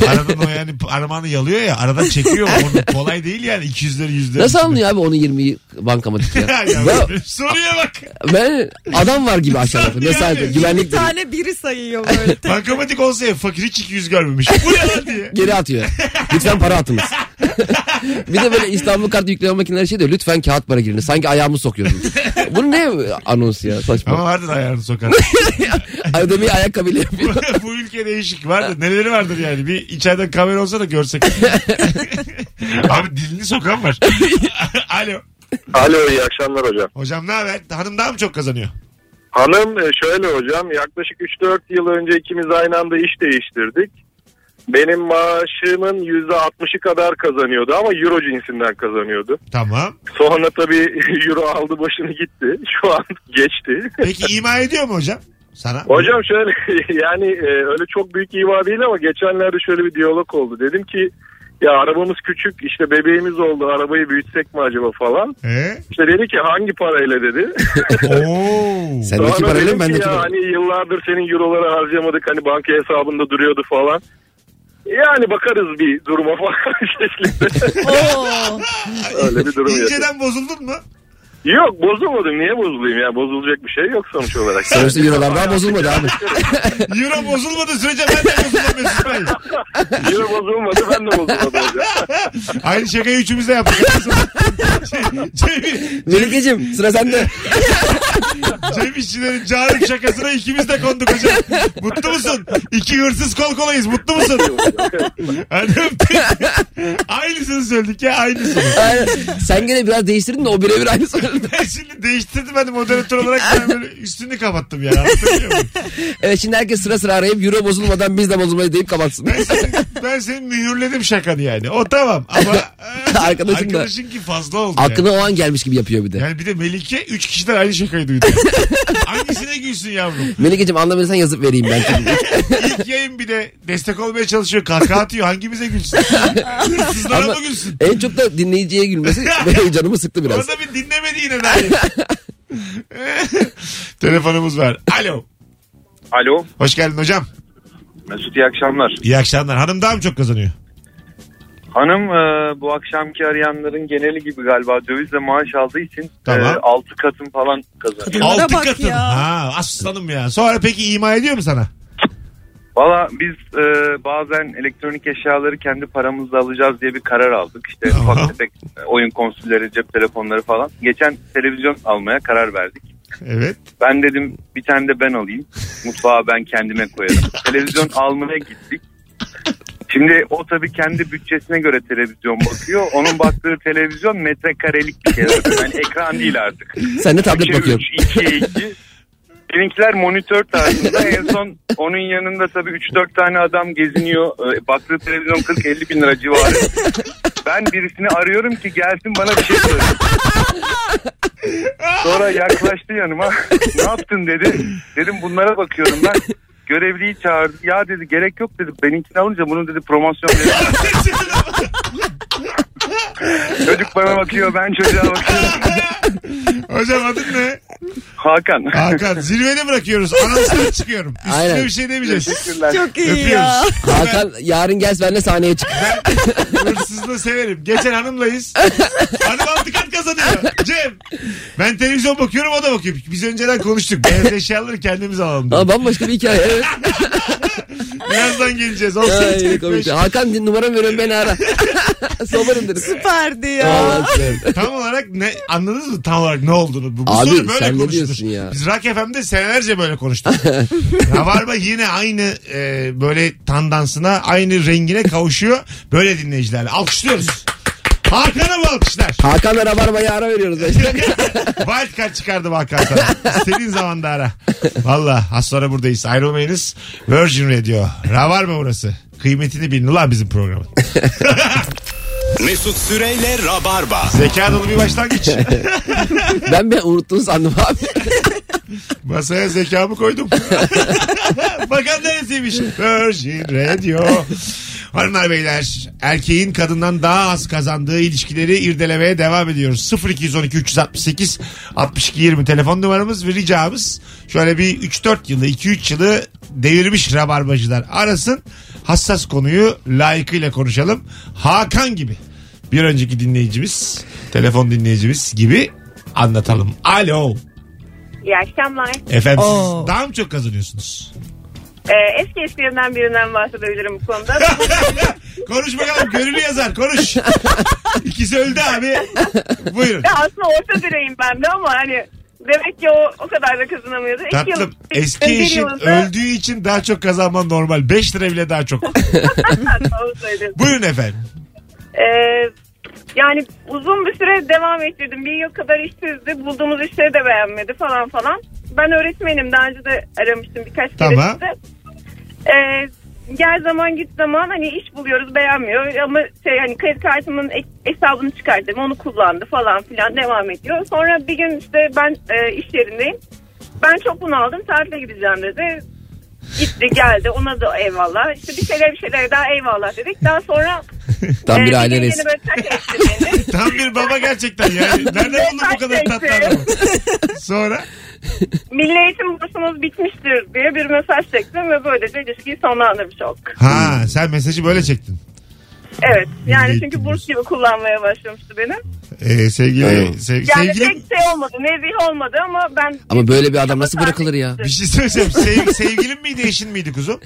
[SPEAKER 2] Aradan o yani aramanı yalıyor ya. Aradan çekiyor. Onu kolay değil yani 200'leri 100'leri.
[SPEAKER 3] Nasıl anlıyor abi onun 20'yi bankamatik ya?
[SPEAKER 2] Ya,
[SPEAKER 3] Ya
[SPEAKER 2] ya, soruya bak.
[SPEAKER 3] ben adam var gibi aşağıda.
[SPEAKER 2] Tabii
[SPEAKER 3] Mesaj
[SPEAKER 2] yani.
[SPEAKER 4] Bir
[SPEAKER 3] [LAUGHS] güvenlik dedi.
[SPEAKER 4] tane biri sayıyor
[SPEAKER 2] [LAUGHS]
[SPEAKER 4] böyle.
[SPEAKER 2] Bankamatik olsa ya fakir hiç 200 görmemiş. Bu ne lan diye.
[SPEAKER 3] Geri atıyor. Lütfen para atınız. bir de böyle İstanbul kart yükleme makineleri şey diyor. Lütfen kağıt para giriniz. Sanki ayağımı sokuyorsun. Bu ne anons ya
[SPEAKER 2] Ama
[SPEAKER 3] saçma.
[SPEAKER 2] vardır ayağını sokar.
[SPEAKER 3] [LAUGHS] Ödemeyi ayakkabıyla yapıyor.
[SPEAKER 2] [LAUGHS] Bu ülke değişik. Vardır. Neleri vardır yani. Bir içeriden kamera olsa da görsek. Abi dilini sokan var. [LAUGHS] Alo.
[SPEAKER 6] Alo iyi akşamlar hocam.
[SPEAKER 2] Hocam ne haber? Hanım daha mı çok kazanıyor?
[SPEAKER 6] Hanım e, şöyle hocam yaklaşık 3-4 yıl önce ikimiz aynı anda iş değiştirdik. Benim maaşımın %60'ı kadar kazanıyordu ama euro cinsinden kazanıyordu.
[SPEAKER 2] Tamam.
[SPEAKER 6] Sonra tabii [LAUGHS] euro aldı başını gitti. [LAUGHS] Şu an geçti.
[SPEAKER 2] Peki ima ediyor mu hocam? Sana.
[SPEAKER 6] Hocam şöyle [LAUGHS] yani e, öyle çok büyük iva değil ama geçenlerde şöyle bir diyalog oldu. Dedim ki ya arabamız küçük işte bebeğimiz oldu arabayı büyütsek mi acaba falan.
[SPEAKER 2] Ee?
[SPEAKER 6] İşte dedi ki hangi parayla dedi.
[SPEAKER 2] [LAUGHS] Oo.
[SPEAKER 3] Sendeki
[SPEAKER 6] Sonra
[SPEAKER 3] parayla
[SPEAKER 6] dedim
[SPEAKER 3] mı
[SPEAKER 6] ki
[SPEAKER 3] bendeki
[SPEAKER 6] ya
[SPEAKER 3] parayla?
[SPEAKER 6] hani yıllardır senin euroları harcamadık hani banka hesabında duruyordu falan. Yani bakarız bir duruma falan [LAUGHS] şeklinde.
[SPEAKER 4] Oo.
[SPEAKER 6] Öyle bir durum yok.
[SPEAKER 2] İnceden bozuldun mu?
[SPEAKER 6] Yok bozulmadım. Niye bozulayım ya? Bozulacak bir şey yok sonuç olarak.
[SPEAKER 3] Sonuçta eurolar daha bozulmadı abi.
[SPEAKER 2] Euro bozulmadı sürece ben de bozulmam Mesut Bey.
[SPEAKER 6] Euro bozulmadı ben de bozulmadım hocam.
[SPEAKER 2] Aynı şakayı üçümüz
[SPEAKER 3] [LAUGHS]
[SPEAKER 2] de yaptık. Cem- Cem,
[SPEAKER 3] Melikeciğim sıra sende.
[SPEAKER 2] Cem İşçilerin çağrı şakasına ikimiz de konduk hocam. Mutlu musun? İki hırsız kol kolayız. Mutlu musun? Hadi öptük. Aynısını söyledik ya aynısını.
[SPEAKER 3] Aynen. Sen gene biraz değiştirdin de o birebir aynı sorun.
[SPEAKER 2] Ben şimdi değiştirdim ben de moderatör olarak ben böyle üstünü kapattım yani. Anlatabiliyor muyum?
[SPEAKER 3] Evet şimdi herkes sıra sıra arayıp euro bozulmadan biz de bozulmayı deyip kapatsın.
[SPEAKER 2] Ben seni, ben seni mühürledim şakanı yani. O tamam ama
[SPEAKER 3] [LAUGHS]
[SPEAKER 2] e,
[SPEAKER 3] Arkadaşım da-
[SPEAKER 2] arkadaşın ki fazla oldu. yani.
[SPEAKER 3] Aklına o an gelmiş gibi yapıyor bir de.
[SPEAKER 2] Yani bir de Melike 3 kişiden aynı
[SPEAKER 3] [LAUGHS]
[SPEAKER 2] şakayı duydu. Hangisine gülsün yavrum?
[SPEAKER 3] Melikeciğim anlamıyorsan yazıp vereyim ben.
[SPEAKER 2] [LAUGHS]
[SPEAKER 3] şimdi.
[SPEAKER 2] İlk yayın bir de destek olmaya
[SPEAKER 3] [LAUGHS]
[SPEAKER 2] çalışıyor. Kahkaha atıyor. Hangimize gülsün? Hırsızlara
[SPEAKER 3] Ama-
[SPEAKER 2] mı gülsün?
[SPEAKER 3] en çok da dinleyiciye
[SPEAKER 2] [LAUGHS]
[SPEAKER 3] gülmesi benim canımı sıktı biraz.
[SPEAKER 2] Orada bir dinlemedi
[SPEAKER 3] [LAUGHS]
[SPEAKER 2] yine dair. Telefonumuz var. Alo.
[SPEAKER 6] Alo.
[SPEAKER 2] Hoş geldin hocam.
[SPEAKER 6] Mesut iyi akşamlar.
[SPEAKER 2] İyi akşamlar. Hanım daha mı çok kazanıyor?
[SPEAKER 6] Hanım e, bu akşamki arayanların geneli gibi galiba dövizle maaş aldığı için
[SPEAKER 2] Tamam.
[SPEAKER 6] 6 katın falan kazanıyor.
[SPEAKER 4] Kadınlara
[SPEAKER 2] Altı
[SPEAKER 4] bak
[SPEAKER 2] katın.
[SPEAKER 4] ya.
[SPEAKER 2] Ha, aslanım ya. Sonra peki ima ediyor mu sana?
[SPEAKER 6] Valla biz e, bazen elektronik eşyaları kendi paramızla alacağız diye bir karar aldık. İşte
[SPEAKER 2] Tamam.
[SPEAKER 6] ufak tefek e, oyun konsolleri, cep telefonları falan. Geçen televizyon almaya karar verdik.
[SPEAKER 2] Evet.
[SPEAKER 6] Ben dedim bir tane de ben alayım. Mutfağa ben kendime koyarım. televizyon almaya gittik. Şimdi o tabii kendi bütçesine göre televizyon bakıyor. Onun baktığı televizyon metrekarelik bir şey. zaten. Yani ekran değil artık.
[SPEAKER 3] Sen de tablet
[SPEAKER 6] 2'ye
[SPEAKER 3] bakıyorsun.
[SPEAKER 6] 3, 2'ye 2. Benimkiler monitör tarzında. En son onun yanında tabii 3-4 tane adam geziniyor. Ee, Baktığı televizyon 40-50 bin lira civarı. Ben birisini arıyorum ki gelsin bana bir şey söylesin. Sonra yaklaştı yanıma. ne yaptın dedi. Dedim bunlara bakıyorum ben. Görevliyi çağırdı. Ya dedi gerek yok dedi. Benimkini alınca bunun dedi promosyon dedi. Çocuk bana bakıyor ben çocuğa bakıyorum.
[SPEAKER 2] Hocam adın ne?
[SPEAKER 6] Hakan.
[SPEAKER 2] Hakan. Zirvede bırakıyoruz. Anonsuna çıkıyorum. Üstüne
[SPEAKER 3] Aynen.
[SPEAKER 2] bir şey demeyeceğiz.
[SPEAKER 6] Teşekkürler.
[SPEAKER 4] Çok iyi ya.
[SPEAKER 2] Öpüyoruz.
[SPEAKER 3] Hakan yarın gel benle sahneye çık.
[SPEAKER 2] Hırsızlığı severim. Geçen hanımlayız. Hanım altı kat kazanıyor. Cem. Ben televizyon bakıyorum o da bakıyor. Biz önceden konuştuk. Beyaz eşyaları kendimiz alalım.
[SPEAKER 3] Ama
[SPEAKER 2] dedik.
[SPEAKER 3] bambaşka bir hikaye. Evet.
[SPEAKER 2] [LAUGHS] Birazdan geleceğiz.
[SPEAKER 3] Ay, ne
[SPEAKER 2] 18.45.
[SPEAKER 3] komik. Hakan numaram veriyorum beni
[SPEAKER 2] [LAUGHS]
[SPEAKER 3] ara. Sobarım dedim.
[SPEAKER 4] Süperdi ya. [LAUGHS]
[SPEAKER 3] Vallahi süper.
[SPEAKER 2] Tam olarak ne anladınız mı tam olarak ne olduğunu? Bu, bu
[SPEAKER 3] Abi,
[SPEAKER 2] soru böyle
[SPEAKER 3] sen ne
[SPEAKER 2] konuşulur.
[SPEAKER 3] diyorsun ya?
[SPEAKER 2] Biz Rock FM'de senelerce
[SPEAKER 3] [LAUGHS]
[SPEAKER 2] böyle konuştuk. Rabarba yine aynı e, böyle tandansına aynı rengine kavuşuyor. Böyle dinleyicilerle alkışlıyoruz. Hakan'a mı alkışlar?
[SPEAKER 3] Hakan'la Rabarba'yı ara
[SPEAKER 2] [LAUGHS]
[SPEAKER 3] veriyoruz.
[SPEAKER 2] Wildcard çıkardım Hakan sana. İstediğin zaman da ara. Valla az sonra buradayız. Ayrılmayınız. Virgin Radio. Rabarba burası. Kıymetini bilin ulan bizim programın.
[SPEAKER 1] Mesut Süreyle Rabarba.
[SPEAKER 2] Zeka dolu
[SPEAKER 3] [LAUGHS]
[SPEAKER 2] bir başlangıç.
[SPEAKER 3] Ben ben unuttum sandım abi.
[SPEAKER 2] [LAUGHS] Masaya zekamı koydum. [LAUGHS] Bakan neresiymiş? Virgin Radio. Hanımlar beyler erkeğin kadından daha az kazandığı ilişkileri irdelemeye devam ediyoruz. 0212 368 62 20 telefon numaramız ve ricamız şöyle bir 3-4 yılı 2-3 yılı devirmiş rabarbacılar arasın. Hassas konuyu layıkıyla konuşalım. Hakan gibi bir önceki dinleyicimiz telefon dinleyicimiz gibi anlatalım. Alo.
[SPEAKER 10] İyi akşamlar.
[SPEAKER 2] Efendim siz
[SPEAKER 4] Oo.
[SPEAKER 2] daha mı çok kazanıyorsunuz?
[SPEAKER 10] Ee, eski eskilerinden birinden bahsedebilirim bu konuda.
[SPEAKER 2] [LAUGHS] Konuş bakalım gönlü yazar
[SPEAKER 10] [LAUGHS]
[SPEAKER 2] konuş. İkisi öldü abi. Buyurun.
[SPEAKER 10] ya aslında orta direyim ben de ama hani demek ki o o kadar da kazanamıyordu. İki yıl-
[SPEAKER 2] Tatlım
[SPEAKER 10] bir- bir
[SPEAKER 2] eski eşin
[SPEAKER 10] yılda- [LAUGHS]
[SPEAKER 2] öldüğü için daha çok kazanman normal. 5 lira bile daha çok.
[SPEAKER 10] Doğru söylüyorsun.
[SPEAKER 2] Buyurun efendim.
[SPEAKER 10] Ee, yani uzun bir süre devam ettirdim. Bir yıl kadar işsizdi. Bulduğumuz işleri de beğenmedi falan falan. Ben öğretmenim. Daha önce de aramıştım birkaç
[SPEAKER 2] Tamam.
[SPEAKER 10] keresinde. Ee, gel zaman git zaman hani iş buluyoruz beğenmiyor ama şey hani kredi kartımın ek- hesabını çıkardım onu kullandı falan filan devam ediyor. Sonra bir gün işte ben e, iş yerindeyim. Ben çok bunaldım tatile gideceğim dedi. Gitti geldi ona da eyvallah. İşte bir şeyler bir şeyler daha eyvallah dedik. Daha sonra
[SPEAKER 3] [LAUGHS] Tam bir
[SPEAKER 10] ee,
[SPEAKER 3] aile
[SPEAKER 10] gün
[SPEAKER 3] resmi.
[SPEAKER 10] yeni böyle terk etti beni.
[SPEAKER 2] [LAUGHS] Tam bir baba gerçekten yani. Nerede buldun bu kadar tatlı adamı? Sonra
[SPEAKER 10] [LAUGHS] Milli eğitim bursunuz bitmiştir diye bir mesaj çektim ve böylece ilişkiyi sonlandırmış olduk.
[SPEAKER 2] ha sen mesajı böyle çektin.
[SPEAKER 10] Evet
[SPEAKER 2] Milli
[SPEAKER 10] yani
[SPEAKER 2] eğitim
[SPEAKER 10] çünkü
[SPEAKER 2] bursu.
[SPEAKER 10] burs gibi kullanmaya başlamıştı beni.
[SPEAKER 2] Ee, sevgili, sevgili,
[SPEAKER 10] Yani
[SPEAKER 2] sevgili
[SPEAKER 10] pek şey olmadı nezih olmadı ama ben
[SPEAKER 3] Ama böyle bir adam nasıl bırakılır ya?
[SPEAKER 2] bir şey söyleyeceğim. Sev, sevgilin miydi eşin miydi kuzum?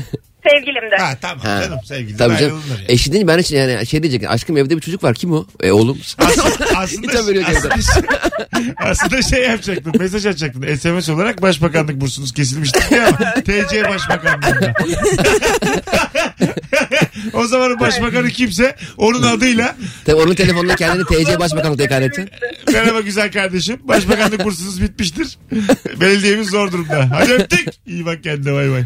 [SPEAKER 10] sevgilim de.
[SPEAKER 2] Ha tamam
[SPEAKER 3] Ha.
[SPEAKER 2] canım sevgili.
[SPEAKER 3] Tabii canım.
[SPEAKER 2] ayrılırlar yani.
[SPEAKER 3] Eşi deyince ben hiç yani şey diyecek. Aşkım evde bir çocuk var kim o? E oğlum.
[SPEAKER 2] [LAUGHS] Aslında, aslında,
[SPEAKER 3] Hiç haberi yok evden.
[SPEAKER 2] aslında- [LAUGHS] aslında şey yapacaktın. Mesaj atacaktın. SMS olarak başbakanlık bursunuz kesilmişti diye [LAUGHS] ama TC başbakanlığında. [LAUGHS] o zamanın başbakanı kimse onun adıyla
[SPEAKER 3] Tabii onun telefonunda kendini TC Başbakanı tekrar etti.
[SPEAKER 2] merhaba güzel kardeşim başbakanlık bursunuz bitmiştir. Belediyemiz zor durumda. Hadi öptük. İyi bak kendine bay bay.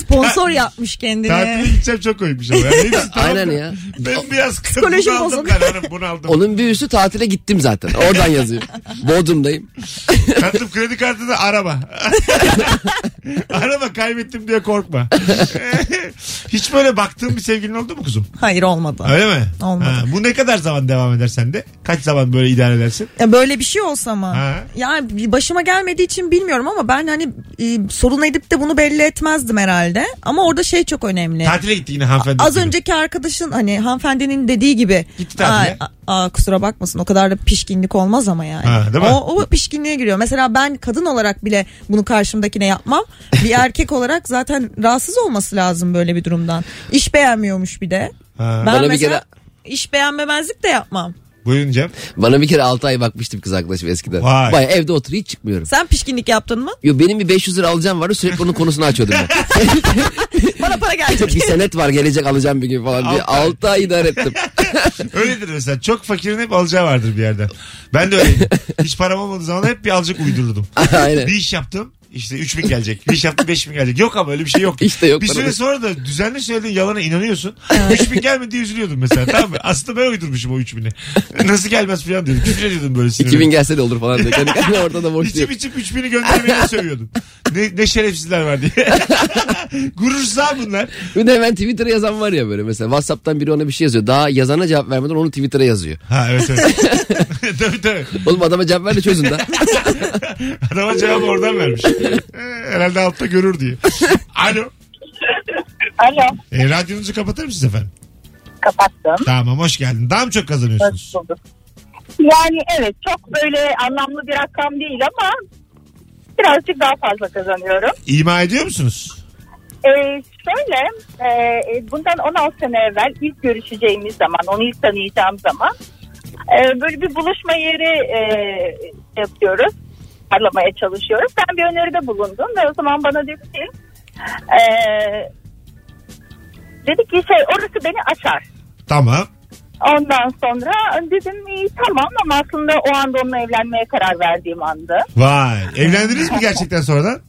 [SPEAKER 4] Sponsor yapmış
[SPEAKER 2] Tatile
[SPEAKER 4] kendini.
[SPEAKER 2] gideceğim çok koymuş ama. Yani hepsi tamam.
[SPEAKER 3] Aynen ya.
[SPEAKER 2] Ben biraz
[SPEAKER 4] Psikolojim
[SPEAKER 2] bunu aldım
[SPEAKER 4] bozuldu.
[SPEAKER 2] ben hanım bunu aldım.
[SPEAKER 3] Onun bir üstü tatile gittim zaten.
[SPEAKER 4] [LAUGHS]
[SPEAKER 3] Oradan yazıyor. Bodrum'dayım.
[SPEAKER 2] Tatlım kredi kartını arama. [LAUGHS] arama kaybettim diye korkma. [LAUGHS] Hiç böyle baktığın bir sevgilin oldu mu kuzum?
[SPEAKER 4] Hayır olmadı.
[SPEAKER 2] Öyle mi?
[SPEAKER 4] Olmadı.
[SPEAKER 2] Ha, bu ne kadar zaman devam eder sende? Kaç zaman böyle idare edersin?
[SPEAKER 4] Ya böyle bir şey olsa mı?
[SPEAKER 2] Ha.
[SPEAKER 4] Yani bir başıma gelmediği için bilmiyorum ama ben hani e, sorun edip de bunu belli etmezdim herhalde. Ama orada şey çok önemli.
[SPEAKER 2] Tatile gitti yine hanımefendi.
[SPEAKER 4] Az önceki arkadaşın hani hanımefendinin dediği gibi.
[SPEAKER 2] Gitti tatile.
[SPEAKER 4] Aa, aa, kusura bakmasın o kadar da pişkinlik olmaz ama yani.
[SPEAKER 2] Ha, değil mi?
[SPEAKER 4] O, o pişkinliğe giriyor. Mesela ben kadın olarak bile bunu karşımdakine yapmam.
[SPEAKER 2] [LAUGHS]
[SPEAKER 4] Bir erkek olarak zaten rahatsız olması lazım böyle bir durumdan. İş beğenmiyormuş bir de.
[SPEAKER 2] Ha.
[SPEAKER 4] Ben
[SPEAKER 3] [LAUGHS] Bana bir
[SPEAKER 4] mesela
[SPEAKER 3] kere-
[SPEAKER 4] iş beğenmemezlik de yapmam.
[SPEAKER 2] Buyurun Cem.
[SPEAKER 3] Bana bir kere 6 ay bakmıştım kız arkadaşım eskiden.
[SPEAKER 2] Vay.
[SPEAKER 3] Baya evde oturuyor hiç çıkmıyorum.
[SPEAKER 4] Sen pişkinlik yaptın mı?
[SPEAKER 3] Yo, benim bir 500 lira alacağım vardı sürekli onun konusunu açıyordum
[SPEAKER 2] [LAUGHS]
[SPEAKER 3] ben.
[SPEAKER 4] Bana
[SPEAKER 3] [LAUGHS]
[SPEAKER 4] para gelecek.
[SPEAKER 3] bir senet var gelecek alacağım bir gün falan diye.
[SPEAKER 2] Altı ay.
[SPEAKER 3] 6 ay idare
[SPEAKER 2] [LAUGHS]
[SPEAKER 3] ettim.
[SPEAKER 2] Öyledir mesela. Çok fakirin hep alacağı vardır bir yerden. Ben de öyleyim. Hiç param olmadığı zaman hep bir alacak uydururdum.
[SPEAKER 3] Aynen.
[SPEAKER 2] Bir iş yaptım. İşte 3000 gelecek. Bir iş yaptım 5000 gelecek. Yok ama öyle bir şey yok.
[SPEAKER 3] İşte yok
[SPEAKER 2] Bir
[SPEAKER 3] bana
[SPEAKER 2] süre
[SPEAKER 3] da.
[SPEAKER 2] sonra da düzenli söylediğin yalana inanıyorsun. 3000 gelmedi üzülüyordum mesela tamam mı? Aslında ben uydurmuşum o 3000'i. Nasıl gelmez falan diyordum. Küfür ediyordum böyle sinirle.
[SPEAKER 3] 2000 gelse de olur falan diye. Yani, yani ortada boş diyor.
[SPEAKER 2] İçim içim 3000'i göndermeye sövüyordum. Ne, ne şerefsizler var diye. [LAUGHS] Gurursuz bunlar.
[SPEAKER 3] Bir de hemen Twitter'a yazan var ya böyle mesela. Whatsapp'tan biri ona bir şey yazıyor. Daha yazana cevap vermeden onu Twitter'a yazıyor.
[SPEAKER 2] Ha
[SPEAKER 3] [LAUGHS]
[SPEAKER 2] evet evet. tabii tabii.
[SPEAKER 3] Oğlum adama cevap ver de çözün da.
[SPEAKER 2] [LAUGHS] Adama cevabı
[SPEAKER 3] [LAUGHS]
[SPEAKER 2] oradan vermiş. Ee, Herhalde altta görür diye. Alo.
[SPEAKER 10] Alo
[SPEAKER 2] E, radyonuzu kapatır mısınız efendim?
[SPEAKER 10] kapattım.
[SPEAKER 2] Tamam hoş geldin. Daha mı çok kazanıyorsunuz?
[SPEAKER 10] Yani evet çok böyle anlamlı bir rakam değil ama birazcık daha fazla kazanıyorum.
[SPEAKER 2] İma ediyor musunuz?
[SPEAKER 10] Ee, şöyle, e, e, bundan 16 sene evvel ilk görüşeceğimiz zaman, onu ilk tanıyacağım zaman e, böyle bir buluşma yeri e, yapıyoruz, parlamaya çalışıyoruz. Ben bir öneride bulundum ve o zaman bana dedi ki, e, dedi ki şey orası beni açar.
[SPEAKER 2] Tamam.
[SPEAKER 10] Ondan sonra dedim iyi tamam ama aslında o anda onunla evlenmeye karar verdiğim andı.
[SPEAKER 2] Vay. Evlendiniz mi gerçekten sonradan?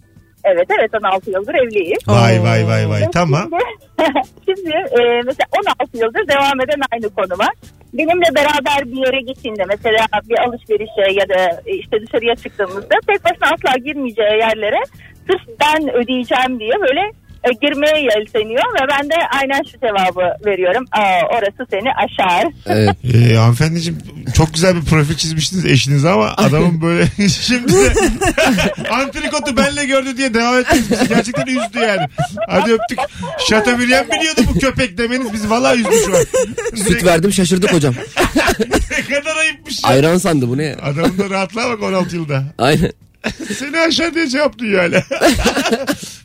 [SPEAKER 11] Evet evet 16 yıldır evliyiz.
[SPEAKER 2] Vay vay vay vay. Tamam.
[SPEAKER 11] Şimdi, [LAUGHS] şimdi e, mesela 16 yıldır devam eden aynı konu var. Benimle beraber bir yere gittiğinde mesela bir alışverişe ya da e, işte dışarıya çıktığımızda tek başına asla girmeyeceği yerlere sırf ben ödeyeceğim diye böyle e, girmeye yelteniyor ve ben de aynen şu cevabı veriyorum. Aa, orası seni
[SPEAKER 2] [LAUGHS]
[SPEAKER 11] aşar.
[SPEAKER 3] Evet.
[SPEAKER 2] Ee, hanımefendiciğim çok güzel bir profil çizmiştiniz eşinize ama adamın böyle [LAUGHS] şimdi de [LAUGHS] antrikotu benle gördü diye devam ettiniz. Bizi gerçekten üzdü yani. Hadi öptük. Şata Büryan biliyordu bu köpek demeniz bizi valla üzdü şu an.
[SPEAKER 3] Süt verdim şaşırdık hocam.
[SPEAKER 2] [LAUGHS] ne kadar ayıpmış ya.
[SPEAKER 3] Ayran sandı bu ne ya?
[SPEAKER 2] Adamın da rahatlığa bak 16 yılda.
[SPEAKER 3] Aynen.
[SPEAKER 2] Seni aşağı diye cevap duyuyor hala. [LAUGHS]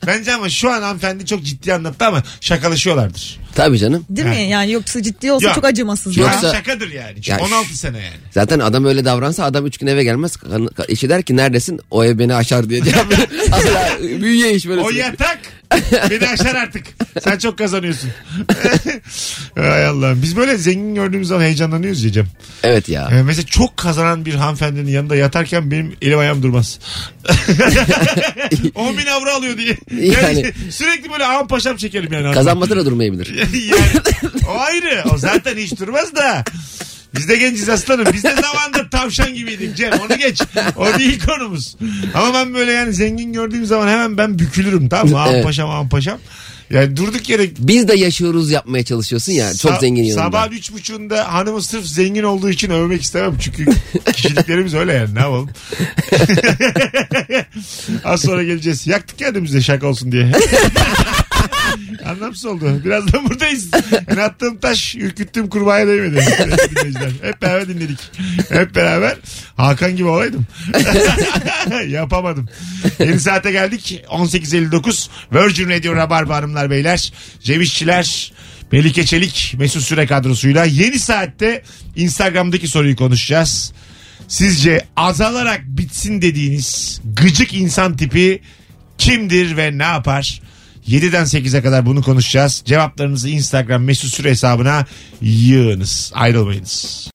[SPEAKER 2] Bence ama şu an hanımefendi çok ciddi anlattı ama şakalaşıyorlardır.
[SPEAKER 3] Tabii
[SPEAKER 2] [LAUGHS]
[SPEAKER 3] canım.
[SPEAKER 4] Değil mi? Yani yoksa ciddi olsa
[SPEAKER 2] Ya.
[SPEAKER 4] çok acımasız.
[SPEAKER 2] Şu an
[SPEAKER 3] Yoksa-
[SPEAKER 2] şakadır yani. Şu
[SPEAKER 3] Ya şu-
[SPEAKER 2] 16 sene yani.
[SPEAKER 3] Zaten adam öyle davransa adam üç gün eve gelmez. Kan- ka- Eşi der ki neredesin? O ev beni aşar diye cevap verir. Asla büyüye iş böyle.
[SPEAKER 2] O yatak beni aşar artık. Sen çok kazanıyorsun. Ay Allah'ım. Biz böyle zengin gördüğümüz zaman heyecanlanıyoruz ya Cem.
[SPEAKER 3] Evet ya.
[SPEAKER 2] Ee, mesela çok kazanan bir hanımefendinin yanında yatarken benim elim ayağım durmaz. 10 bin avro alıyor diye.
[SPEAKER 3] [LAUGHS]
[SPEAKER 2] Yani,
[SPEAKER 3] Yani-
[SPEAKER 2] sürekli böyle ağam paşam çekerim yani.
[SPEAKER 3] Kazanmasa da durmayabilir.
[SPEAKER 2] yani,
[SPEAKER 3] [LAUGHS]
[SPEAKER 2] o ayrı. O zaten hiç durmaz da. Biz de genciz aslanım. Biz de zamanında tavşan gibiydik Cem. Onu geç. O değil konumuz. Ama ben böyle yani zengin gördüğüm zaman hemen ben bükülürüm. Tamam mı? Ağam
[SPEAKER 3] Evet.
[SPEAKER 2] paşam ağam paşam. Yani durduk yere
[SPEAKER 3] Biz de yaşıyoruz yapmaya çalışıyorsun ya. Çok
[SPEAKER 2] sa-
[SPEAKER 3] zengin yanında.
[SPEAKER 2] Sabahın üç buçuğunda hanımı sırf zengin olduğu için övmek istemem. Çünkü kişiliklerimiz öyle yani.
[SPEAKER 3] [LAUGHS]
[SPEAKER 2] Ne yapalım? Az sonra geleceğiz. Yaktık kendimizi de şaka olsun diye. Anlamsız oldu. Birazdan buradayız. Yani attığım taş ürküttüğüm kurbağaya değmedi. Dinleyiciler. Hep beraber dinledik. Hep beraber. Hakan gibi olaydım. [LAUGHS] Yapamadım. Yeni saate geldik. 18.59 Virgin Radio Rabarba Hanımlar Beyler. Cevişçiler. Melike Çelik Mesut Süre kadrosuyla yeni saatte Instagram'daki soruyu konuşacağız. Sizce azalarak bitsin dediğiniz gıcık insan tipi kimdir ve ne yapar? 7'den 8'e kadar bunu konuşacağız. Cevaplarınızı Instagram Mesut Süre hesabına yığınız. Ayrılmayınız.